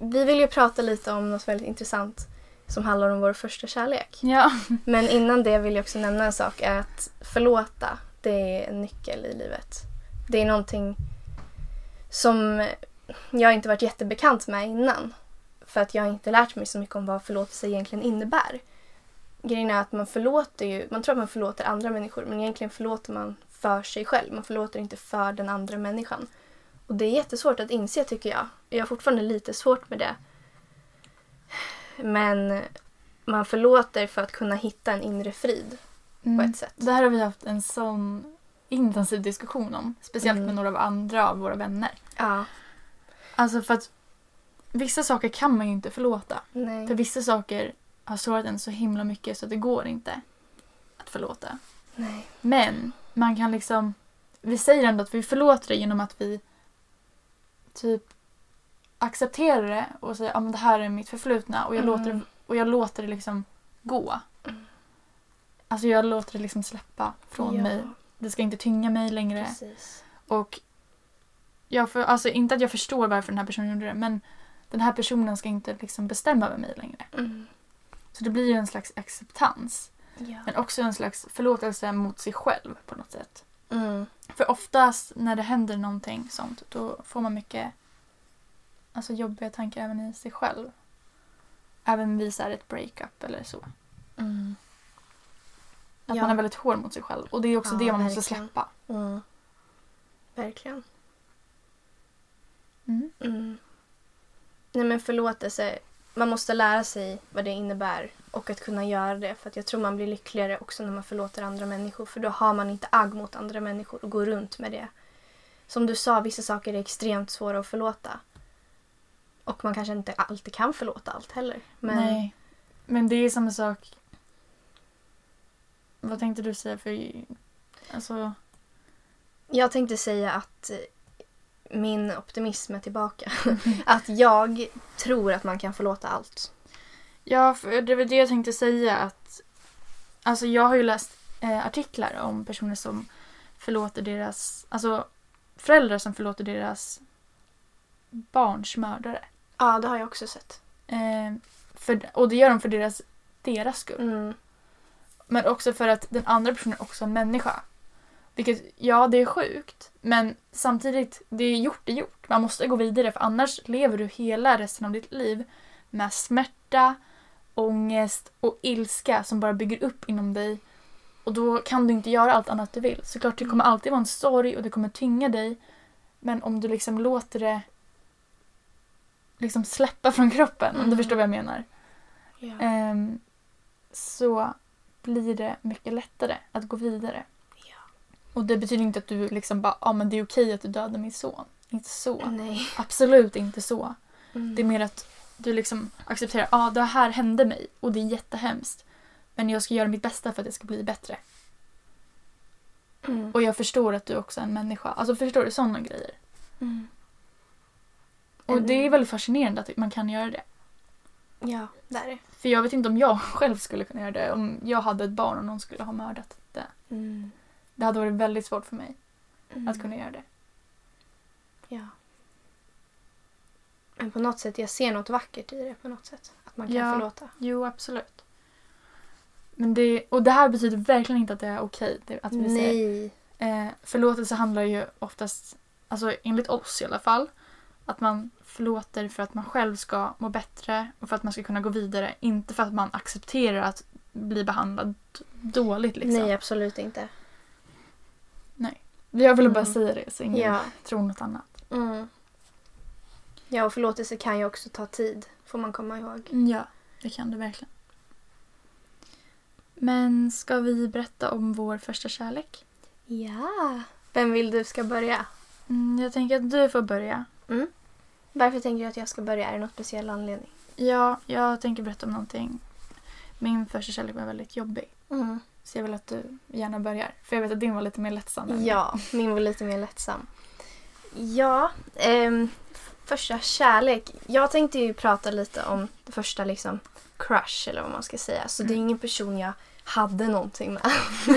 vi vill ju prata lite om något väldigt intressant som handlar om vår första kärlek.
Ja.
Men innan det vill jag också nämna en sak. är Att förlåta, det är en nyckel i livet. Det är någonting som jag inte varit jättebekant med innan. För att jag inte lärt mig så mycket om vad förlåtelse egentligen innebär. Grejen är att man förlåter ju, man tror att man förlåter andra människor men egentligen förlåter man för sig själv. Man förlåter inte för den andra människan. Och det är jättesvårt att inse tycker jag. Jag har fortfarande lite svårt med det. Men man förlåter för att kunna hitta en inre frid
Mm.
på ett sätt.
Det här har vi haft en sån intensiv diskussion om. Speciellt
Mm.
med några av andra av våra vänner.
Ja.
Alltså för att vissa saker kan man ju inte förlåta.
Nej.
För vissa saker har sårat en så himla mycket så att det går inte att förlåta.
Nej.
Men man kan liksom... Vi säger ändå att vi förlåter det genom att vi typ accepterar det och säger att ah, men det här är mitt förflutna och jag, låter, det-
Mm.
och jag låter det liksom gå.
Mm.
Alltså jag låter det liksom släppa från
ja,
mig. Det ska inte tynga mig längre.
Precis.
Och jag för, alltså inte att jag förstår varför den här personen gjorde det men den här personen ska inte liksom bestämma över mig längre.
Mm.
Så det blir ju en slags acceptans.
Ja.
Men också en slags förlåtelse mot sig själv på något sätt.
Mm.
För oftast när det händer någonting sånt då får man mycket alltså jobbiga tankar även i sig själv. Även vid så här ett breakup eller så.
Mm.
Att
Ja.
man är väldigt hård mot sig själv och det är också
Ja,
det man måste
verkligen.
släppa.
Mm. Verkligen.
Mm.
Mm. Nej men förlåtelse, man måste lära sig vad det innebär och att kunna göra det. För att jag tror man blir lyckligare också när man förlåter andra människor för då har man inte agg mot andra människor och går runt med det. Som du sa, vissa saker är extremt svåra att förlåta. Och man kanske inte alltid kan förlåta allt heller. Men
Nej. Men det är samma sak. Vad tänkte du säga för... Alltså...
jag tänkte säga att eh, min optimism är tillbaka. att jag tror att man kan förlåta allt.
Ja, för det var det jag tänkte säga att... Alltså jag har ju läst eh, artiklar om personer som förlåter deras... Alltså föräldrar som förlåter deras barns mördare.
Ja, det har jag också sett.
Eh, för, och det gör de för deras, deras skull.
Mm.
Men också för att den andra personen också är en människa. Vilket, ja det är sjukt. Men samtidigt, det är gjort är gjort. Man måste gå vidare för annars lever du hela resten av ditt liv med smärta, ångest och ilska som bara bygger upp inom dig. Och då kan du inte göra allt annat du vill. Såklart det kommer alltid vara en sorg och det kommer tynga dig. Men om du liksom låter det liksom släppa från kroppen, om du
Mm.
förstår vad jag menar.
Ja.
Ehm, så blir det mycket lättare att gå vidare. Och det betyder inte att du liksom bara, ja ah, men det är okej att du dödade min son. Inte så.
Nej.
Absolut inte så.
Mm.
Det är mer att du liksom accepterar, ja ah, det här hände mig och det är jättehemskt. Men jag ska göra mitt bästa för att det ska bli bättre.
Mm.
Och jag förstår att du också är en människa. Alltså förstår du sådana grejer?
Mm.
Och
Mm.
det är väldigt fascinerande att man kan göra det.
Ja, det är det.
För jag vet inte om jag själv skulle kunna göra det om jag hade ett barn och någon skulle ha mördat det.
Mm.
Det hade varit väldigt svårt för mig.
Mm.
att kunna göra det.
Ja. Men på något sätt, jag ser något vackert i det på något sätt. Att man kan
Ja.
förlåta.
Jo, absolut. Men det, och det här betyder verkligen inte att det är okej. det- Att vi säger,
Nej.
eh, förlåtelse handlar ju oftast, alltså enligt oss i alla fall, att man förlåter för att man själv ska må bättre och för att man ska kunna gå vidare. Inte för att man accepterar att bli behandlad dåligt. Liksom.
Nej, absolut inte.
jag ville bara
Mm.
säga det så ingen
Ja.
tror något annat.
Mm. Ja, och förlåtelse kan ju också ta tid. Får man komma ihåg.
Ja, det kan du verkligen. Men ska vi berätta om vår första kärlek?
Ja. Vem vill du ska börja?
Mm, jag tänker att du får börja.
Varför tänker du att jag ska börja? Är det någon speciell anledning?
Ja, jag tänker berätta om någonting. Min första kärlek var väldigt jobbig.
Mm.
Så jag vill att du gärna börjar. För jag vet att din var lite mer lättsam. än-
Ja, min var lite mer lättsam. Ja, ehm, första kärlek. Jag tänkte ju prata lite om det första liksom crush eller vad man ska säga. Så det
Mm.
är ingen person jag hade någonting med.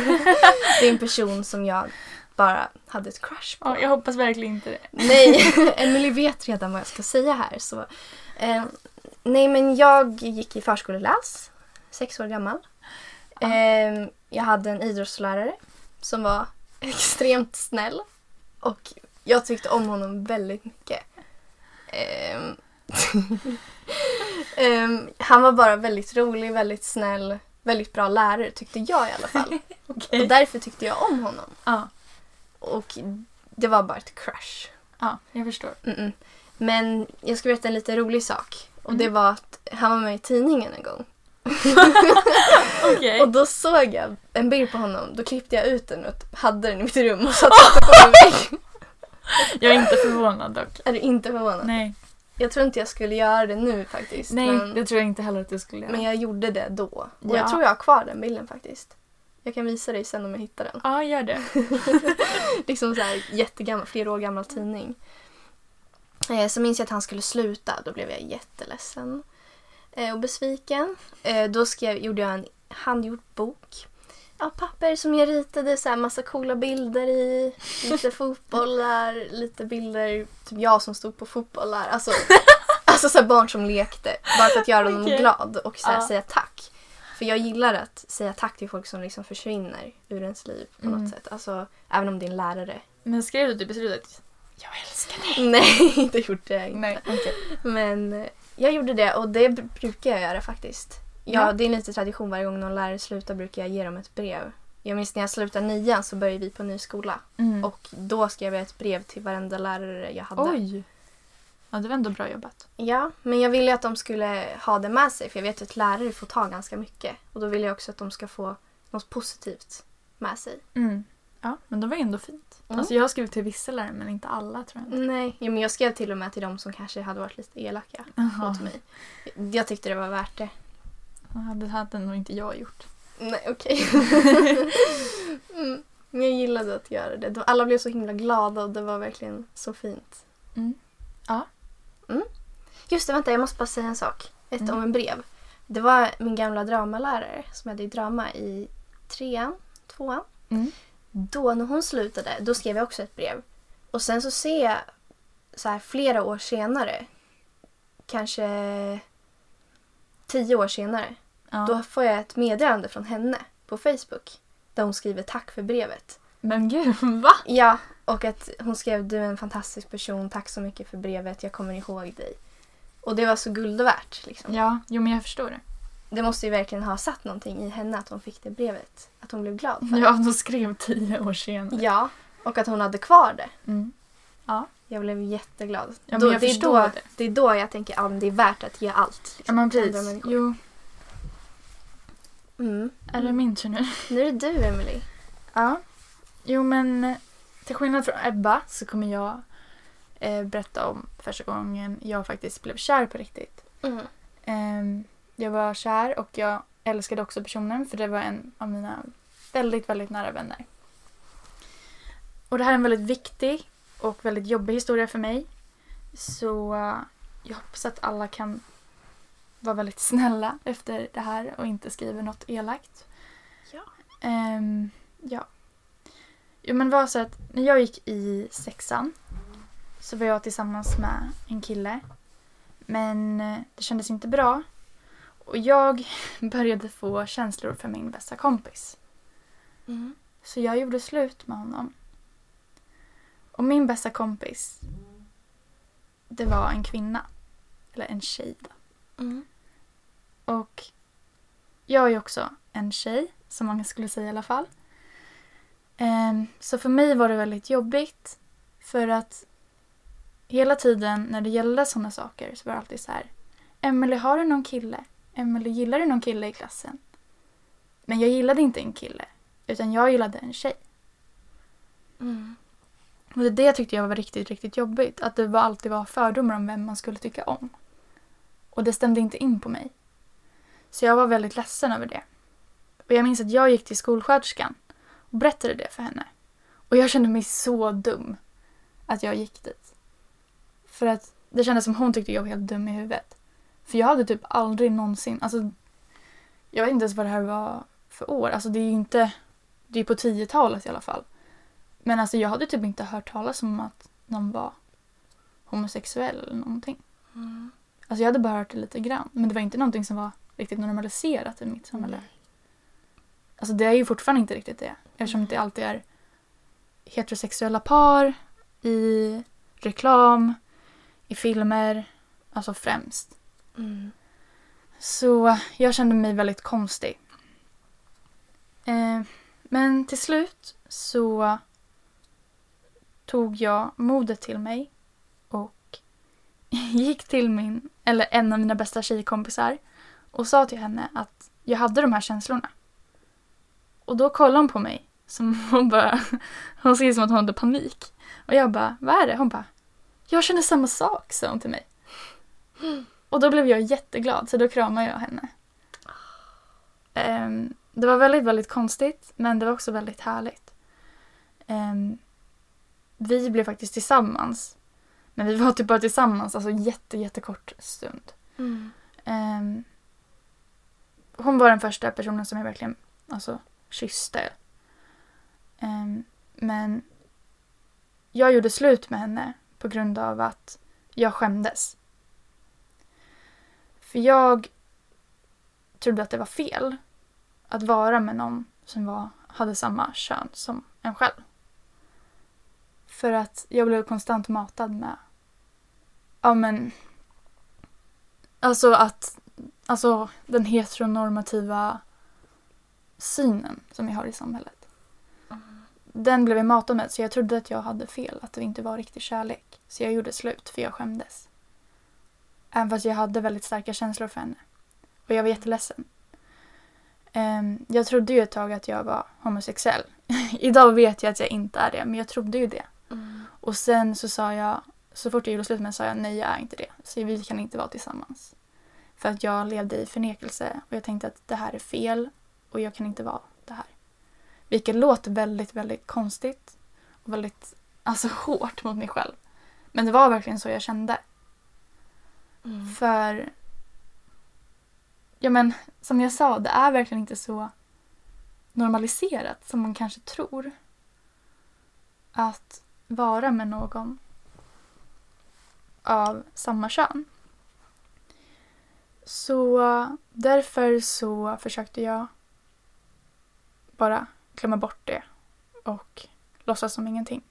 det är en person som jag bara hade ett crush på.
Ja, jag hoppas verkligen inte det.
Nej, Emily vet redan vad jag ska säga här. Så. Eh, nej, men jag gick i förskoleklass, sex år gammal. Eh, jag hade en idrottslärare som var extremt snäll och jag tyckte om honom väldigt mycket. Eh, eh, han var bara väldigt rolig, väldigt snäll, väldigt bra lärare tyckte jag i alla fall.
Okej.
Och därför tyckte jag om honom.
Ja,
Och det var bara ett crush.
ja, jag förstår.
Mm-mm. Men jag ska berätta en lite rolig sak. Och det
Mm.
var att han var med i tidningen en gång.
Okej.
Och då såg jag en bild på honom. Då klippte jag ut den och hade den i mitt rum och satte upp den på mig.
Jag är inte förvånad dock.
Är du inte förvånad?
Nej,
Jag tror inte jag skulle göra det nu faktiskt.
nej,
men,
det tror jag inte heller att du skulle göra.
men jag gjorde det då. Och
Ja.
jag tror jag har kvar den bilden faktiskt. Jag kan visa dig sen om jag hittar den.
Ja, gör det.
liksom så här jättegammal, flera år gammal tidning. Eh, så minns jag att han skulle sluta. Då blev jag jätteledsen eh, och besviken. Eh, då skrev, gjorde jag en handgjord bok av papper som jag ritade så här massa coola bilder i. Lite fotbollar, lite bilder, typ jag som stod på fotbollar. Alltså, alltså så här barn som lekte bara för att göra honom
Okej.
glad och så här
Ja.
säga tack. För jag gillar att säga tack till folk som liksom försvinner ur ens liv på något
Mm.
sätt. Alltså, även om det är en lärare.
Men skrev du typ i slutet? Jag älskar dig.
Nej, det gjorde jag inte.
Nej, okej.
Men eh, jag gjorde det och det br- brukar jag göra faktiskt. Ja,
Ja.
Det är lite tradition varje gång någon lärare slutar brukar jag ge dem ett brev. Jag minns när jag slutade nian så började vi på ny skola
Mm.
och då skrev jag ett brev till varenda lärare jag hade.
Oj! Ja, det var ändå bra jobbat.
Ja, men jag ville ju att de skulle ha det med sig för jag vet ju att lärare får ta ganska mycket. Och då vill jag också att de ska få något positivt med sig.
Mm. Ja, men det var ändå fint.
Mm.
Alltså jag har skrivit till vissa lärare men inte alla tror jag.
Nej, ja, men jag skrev till och med till de som kanske hade varit lite elaka
Jaha,
mot mig. Jag tyckte det var värt det.
ja, det hade nog inte jag gjort.
Nej, okej. mm. Men jag gillade att göra det. De- Alla blev så himla glada och det var verkligen så fint.
Mm. Ja.
Mm. Just det, vänta jag måste bara säga en sak. Ett
Mm.
om en brev. Det var min gamla dramalärare som hade i drama i trean, tvåan.
Mm.
Då när hon slutade, då skrev jag också ett brev. Och sen så ser jag så här flera år senare, kanske tio år senare,
Ja.
då får jag ett meddelande från henne på Facebook där hon skriver tack för brevet.
Men gud, va?
Ja, och att hon skrev du är en fantastisk person, tack så mycket för brevet, jag kommer ihåg dig. Och det var så guld värt. Liksom.
Ja, jo men jag förstår det.
Det måste ju verkligen ha satt någonting i henne att hon fick det brevet. Att hon blev glad för det.
Ja, de skrev tio år senare.
Ja, och att hon hade kvar det.
Mm.
Jag blev jätteglad.
Ja, men
Då-
jag
det, är
förstår
då,
det.
det är då jag tänker att ja, men det är värt att ge allt.
Ja
liksom,
men
till andra
precis.
människor.
Jo,
Mm.
är det min tur nu?
Nu är det du, Emily.
Ja. Jo men eh, till skillnad från Ebba så kommer jag eh, berätta om första gången jag faktiskt blev kär på riktigt.
Mm.
Ehm, jag var kär och jag älskade också personen för det var en av mina väldigt, väldigt nära vänner. Och det här är en väldigt viktig och väldigt jobbig historia för mig. Så eh, jag hoppas att alla kan vara väldigt snälla efter det här och inte skriver något elakt.
Ja.
Ehm, ja. Jo men det var så att när jag gick i sexan så var jag tillsammans med en kille. Men eh, det kändes inte bra. Och jag började få känslor för min bästa kompis.
Mm.
Så jag gjorde slut med honom. Och min bästa kompis, det var en kvinna. Eller en tjej då.
Mm.
Och jag är också en tjej, som många skulle säga i alla fall. Ehm, så för mig var det väldigt jobbigt. För att hela tiden när det gällde sådana saker så var det alltid så här. Emily, har du någon kille? Emily, gillar du någon kille i klassen? Men jag gillade inte en kille, utan jag gillade en tjej.
Mm.
Och det, det tyckte jag var riktigt, riktigt jobbigt. Att det var alltid var fördomar om vem man skulle tycka om. Och det stämde inte in på mig. Så jag var väldigt ledsen över det. Och jag minns att jag gick till skolsköterskan och berättade det för henne. Och jag kände mig så dum att jag gick dit. För att det kändes som hon tyckte jag var helt dum i huvudet. För jag hade typ aldrig någonsin, alltså jag vet inte ens vad det här var för år. Alltså det är ju inte, det är på 10-talet i alla fall. Men alltså jag hade typ inte hört talas om att någon var homosexuell eller någonting.
Mm.
Alltså jag hade bara hört det lite grann. Men det var inte någonting som var riktigt normaliserat i mitt samhälle. Alltså det är ju fortfarande inte riktigt det. Eftersom det alltid är heterosexuella par i reklam, i filmer, alltså främst.
Mm.
Så jag kände mig väldigt konstig. Eh, men till slut så tog jag modet till mig och gick till min, eller en av mina bästa tjejkompisar och sa till henne att jag hade de här känslorna. Och då kollade hon på mig som hon bara, hon ser ut som att hon hade panik. Och jag bara, vad är det? Hon bara, jag känner samma sak, sa hon till mig. Och då blev jag jätteglad så då kramade jag henne. Ehm, det var väldigt, väldigt konstigt men det var också väldigt härligt. Ehm, vi blev faktiskt tillsammans. Men vi var typ bara tillsammans, alltså jätte, jättekort stund.
Mm.
Ehm, hon var den första personen som jag verkligen alltså, kysste. Ehm, men jag gjorde slut med henne på grund av att jag skämdes. För jag trodde att det var fel att vara med någon som var, hade samma kön som en själv. För att jag blev konstant matad med ja men alltså att alltså den heteronormativa synen som vi har i samhället. Den blev jag matad med så jag trodde att jag hade fel, att det inte var riktig kärlek. Så jag gjorde slut för jag skämdes. Även fast jag hade väldigt starka känslor för henne. Och jag var jätteledsen. Ehm, jag trodde ju ett tag att jag var homosexuell. Idag vet jag att jag inte är det, men jag trodde ju det.
Mm.
Och sen så sa jag, så fort jag gjorde slut med henne sa jag nej jag är inte det. Så vi kan inte vara tillsammans. För att jag levde i förnekelse och jag tänkte att det här är fel och jag kan inte vara det här. Vilket låter väldigt, väldigt konstigt och väldigt alltså, hårt mot mig själv. Men det var verkligen så jag kände.
Mm.
För... Ja men, som jag sa, det är verkligen inte så normaliserat som man kanske tror. Att vara med någon av samma kön. Så därför så försökte jag bara glömma bort det och låtsas som ingenting.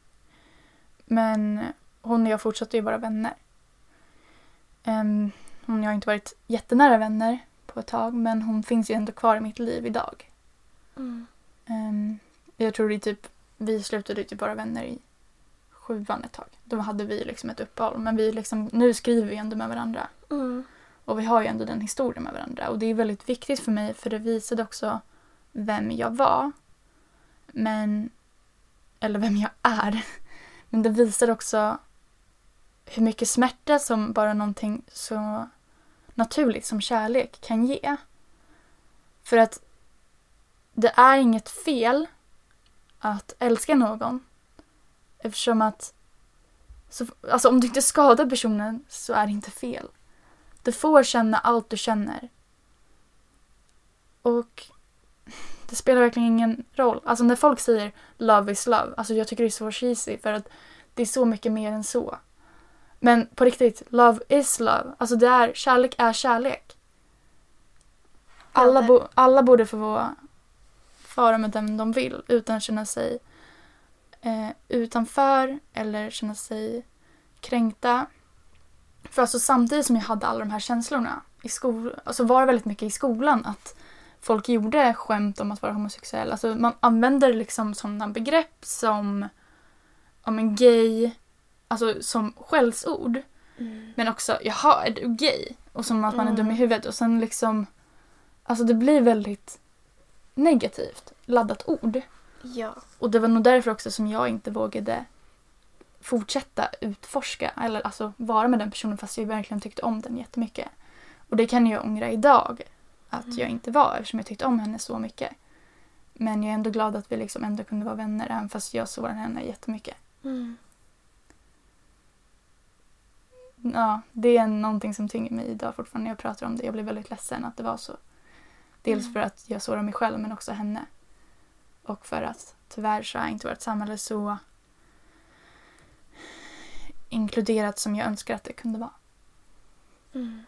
Men hon och jag fortsatte ju vara vänner. Ehm, hon och jag har inte varit jättenära vänner på ett tag men hon finns ju ändå kvar i mitt liv idag.
Mm.
Ehm, jag tror det är typ, vi slutade ju typ vara vänner i sjuan ett tag. Då hade vi liksom ett uppehåll men vi liksom, nu skriver vi ändå med varandra.
Mm.
Och vi har ju ändå den historien med varandra. Och det är väldigt viktigt för mig för det visade också vem jag var. Men... Eller vem jag är. Men det visar också hur mycket smärta som bara någonting så naturligt som kärlek kan ge. För att det är inget fel att älska någon. Eftersom att... Så, alltså om du inte skadar personen så är det inte fel. Du får känna allt du känner. Och det spelar verkligen ingen roll. Alltså när folk säger love is love, alltså jag tycker det är så cheesy för att det är så mycket mer än så. Men på riktigt, love is love. Alltså det är, kärlek är kärlek. Alla, bo, alla borde få vara, vara med dem de vill utan att känna sig eh, utanför eller känna sig kränkta. För alltså samtidigt som jag hade alla de här känslorna i skolan, alltså var det väldigt mycket i skolan att folk gjorde skämt om att vara homosexuell. Alltså man använder liksom sådana begrepp som om en gay, alltså som skällsord. Men också jaha, är du gay? Och som att man är
Mm.
dum i huvudet och sen liksom Alltså det blir väldigt negativt laddat ord.
Ja.
Och det var nog därför också som jag inte vågade fortsätta utforska eller alltså vara med den personen fast jag verkligen tyckte om den jättemycket. Och det kan jag ångra idag att
Mm.
jag inte var eftersom jag tyckte om henne så mycket. Men jag är ändå glad att vi liksom ändå kunde vara vänner även fast jag sårade henne jättemycket.
Mm.
Ja, det är någonting som tynger mig idag fortfarande när jag pratar om det. Jag blir väldigt ledsen att det var så. Dels
Mm.
för att jag sårar mig själv men också henne. Och för att tyvärr så är inte vårt samhälle så inkluderat som jag önskar att det kunde vara.
Mm.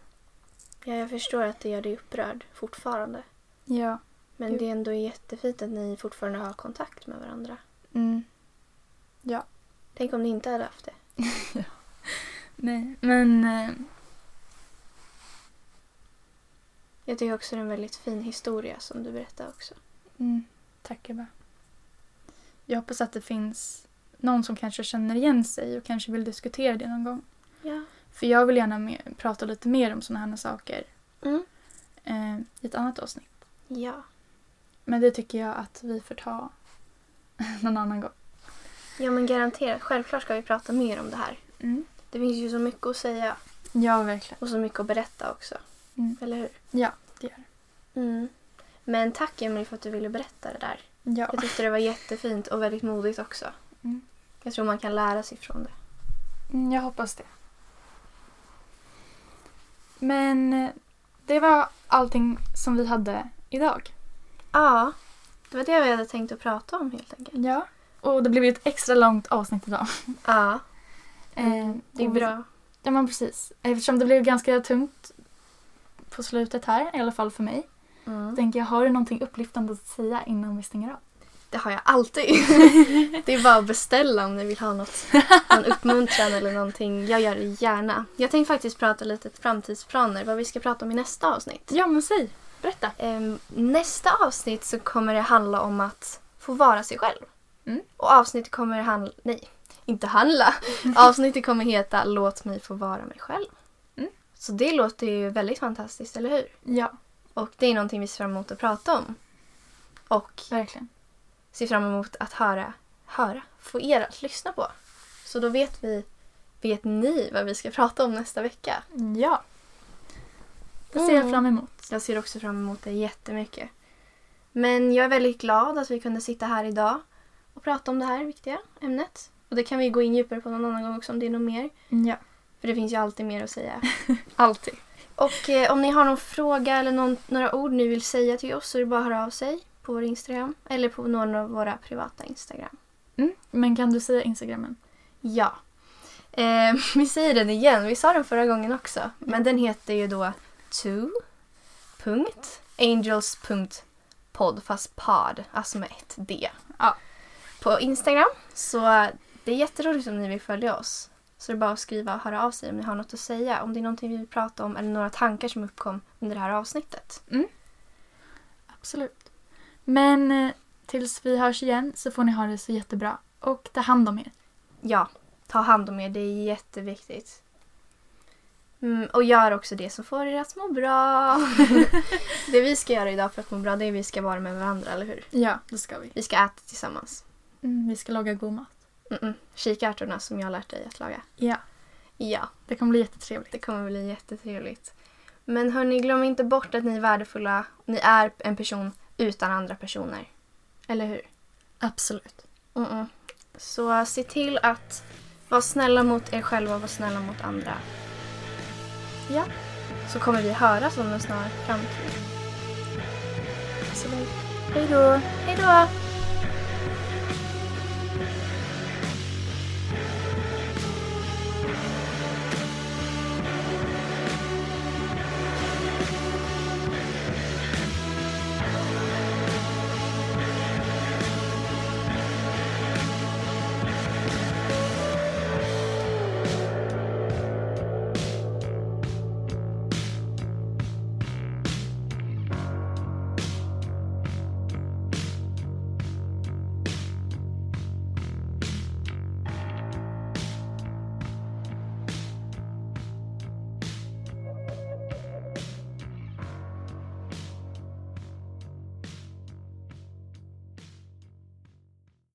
Ja, jag förstår att det gör dig upprörd fortfarande.
Ja.
Men
Jo.
det är ändå jättefint att ni fortfarande har kontakt med varandra.
Mm.
Tänk om ni inte hade haft det.
Nej, men... eh,
Jag tycker också det är en väldigt fin historia som du berättar också.
Mm. Tack Ebba. Jag hoppas att det finns någon som kanske känner igen sig och kanske vill diskutera det någon gång.
Ja.
För jag vill gärna mer, prata lite mer om sådana här saker
Mm.
eh, i ett annat avsnitt.
Ja.
Men det tycker jag att vi får ta någon annan gång.
Ja, men garanterat. Självklart ska vi prata mer om det här.
Mm.
Det finns ju så mycket att säga
Ja, verkligen.
och så mycket att berätta också.
Mm.
Eller hur?
Ja, det gör det.
Mm. Men tack Emily för att du ville berätta det där.
Ja.
Jag tyckte det var jättefint och väldigt modigt också.
Mm.
Jag tror man kan lära sig från det.
Mm, Jag hoppas det. Men eh, det var allting som vi hade idag.
Ja, det var det vi hade tänkt att prata om helt enkelt.
Ja. Och det blev ju ett extra långt avsnitt idag.
Ja,
Mm. Eh,
det är
och-
bra.
Ja, men precis. Eftersom det blev ganska tungt på slutet här, i alla fall för mig.
Mm.
Så tänker jag, har du någonting upplyftande att säga innan vi stänger av?
Det har jag alltid. det är bara att beställa om ni vill ha något. Någon uppmuntran eller någonting. Jag gör det gärna. Jag tänkte faktiskt prata lite framtidsplaner, vad vi ska prata om i nästa avsnitt.
Ja, men säg. Berätta.
Ehm, nästa avsnitt så kommer det handla om att få vara sig själv.
Mm.
Och avsnittet kommer handla... Nej, inte handla. Avsnittet kommer heta Låt mig få vara mig själv.
Mm.
Så det låter ju väldigt fantastiskt, eller hur?
Ja,
Och det är någonting vi ser fram emot att prata om. Och
verkligen.
ser fram emot att höra, höra, få er att lyssna på. Så då vet vi, vet ni vad vi ska prata om nästa vecka.
Ja. Det ser jag
Mm.
fram emot.
Jag ser också fram emot det jättemycket. Men jag är väldigt glad att vi kunde sitta här idag och prata om det här viktiga ämnet. Och det kan vi gå in djupare på någon annan gång också om det är något mer.
Ja.
För det finns ju alltid mer att säga.
Alltid.
Och eh, om ni har någon fråga eller någon, några ord ni vill säga till oss så är det bara att höra av sig på vår Instagram eller på någon av våra privata Instagram.
Mm. Men kan du säga Instagrammen?
Ja. Eh, vi säger den igen, vi sa den förra gången också. Men den heter ju då to.angels.podd fast pod, alltså med ett D.
Ja.
På Instagram. Så det är jätteroligt om ni vill följa oss. Så det är bara att skriva och höra av sig om ni har något att säga. Om det är någonting vi vill prata om eller några tankar som uppkom under det här avsnittet.
Absolut. Men eh, tills vi hörs igen så får ni ha det så jättebra. Och ta hand om er.
Ja, ta hand om er. Det är jätteviktigt. Mm, och gör också det så får er att må bra. det vi ska göra idag för att må bra det är att vi ska vara med varandra, eller hur?
Ja, det ska vi.
Vi ska äta tillsammans.
Mm, vi ska laga god mat.
Mm-mm. Kikärtorna som jag har lärt dig att laga.
Ja,
Ja,
det kommer bli jättetrevligt.
det kommer bli jättetrevligt. Men hörni, glöm inte bort att ni är värdefulla. Ni är en person utan andra personer. Eller hur?
Absolut.
Mm-mm. Så se till att vara snälla mot er själva och vara snälla mot andra. Ja. Så kommer vi höras om en snar framtid.
Absolut. Hej då!
Hej då!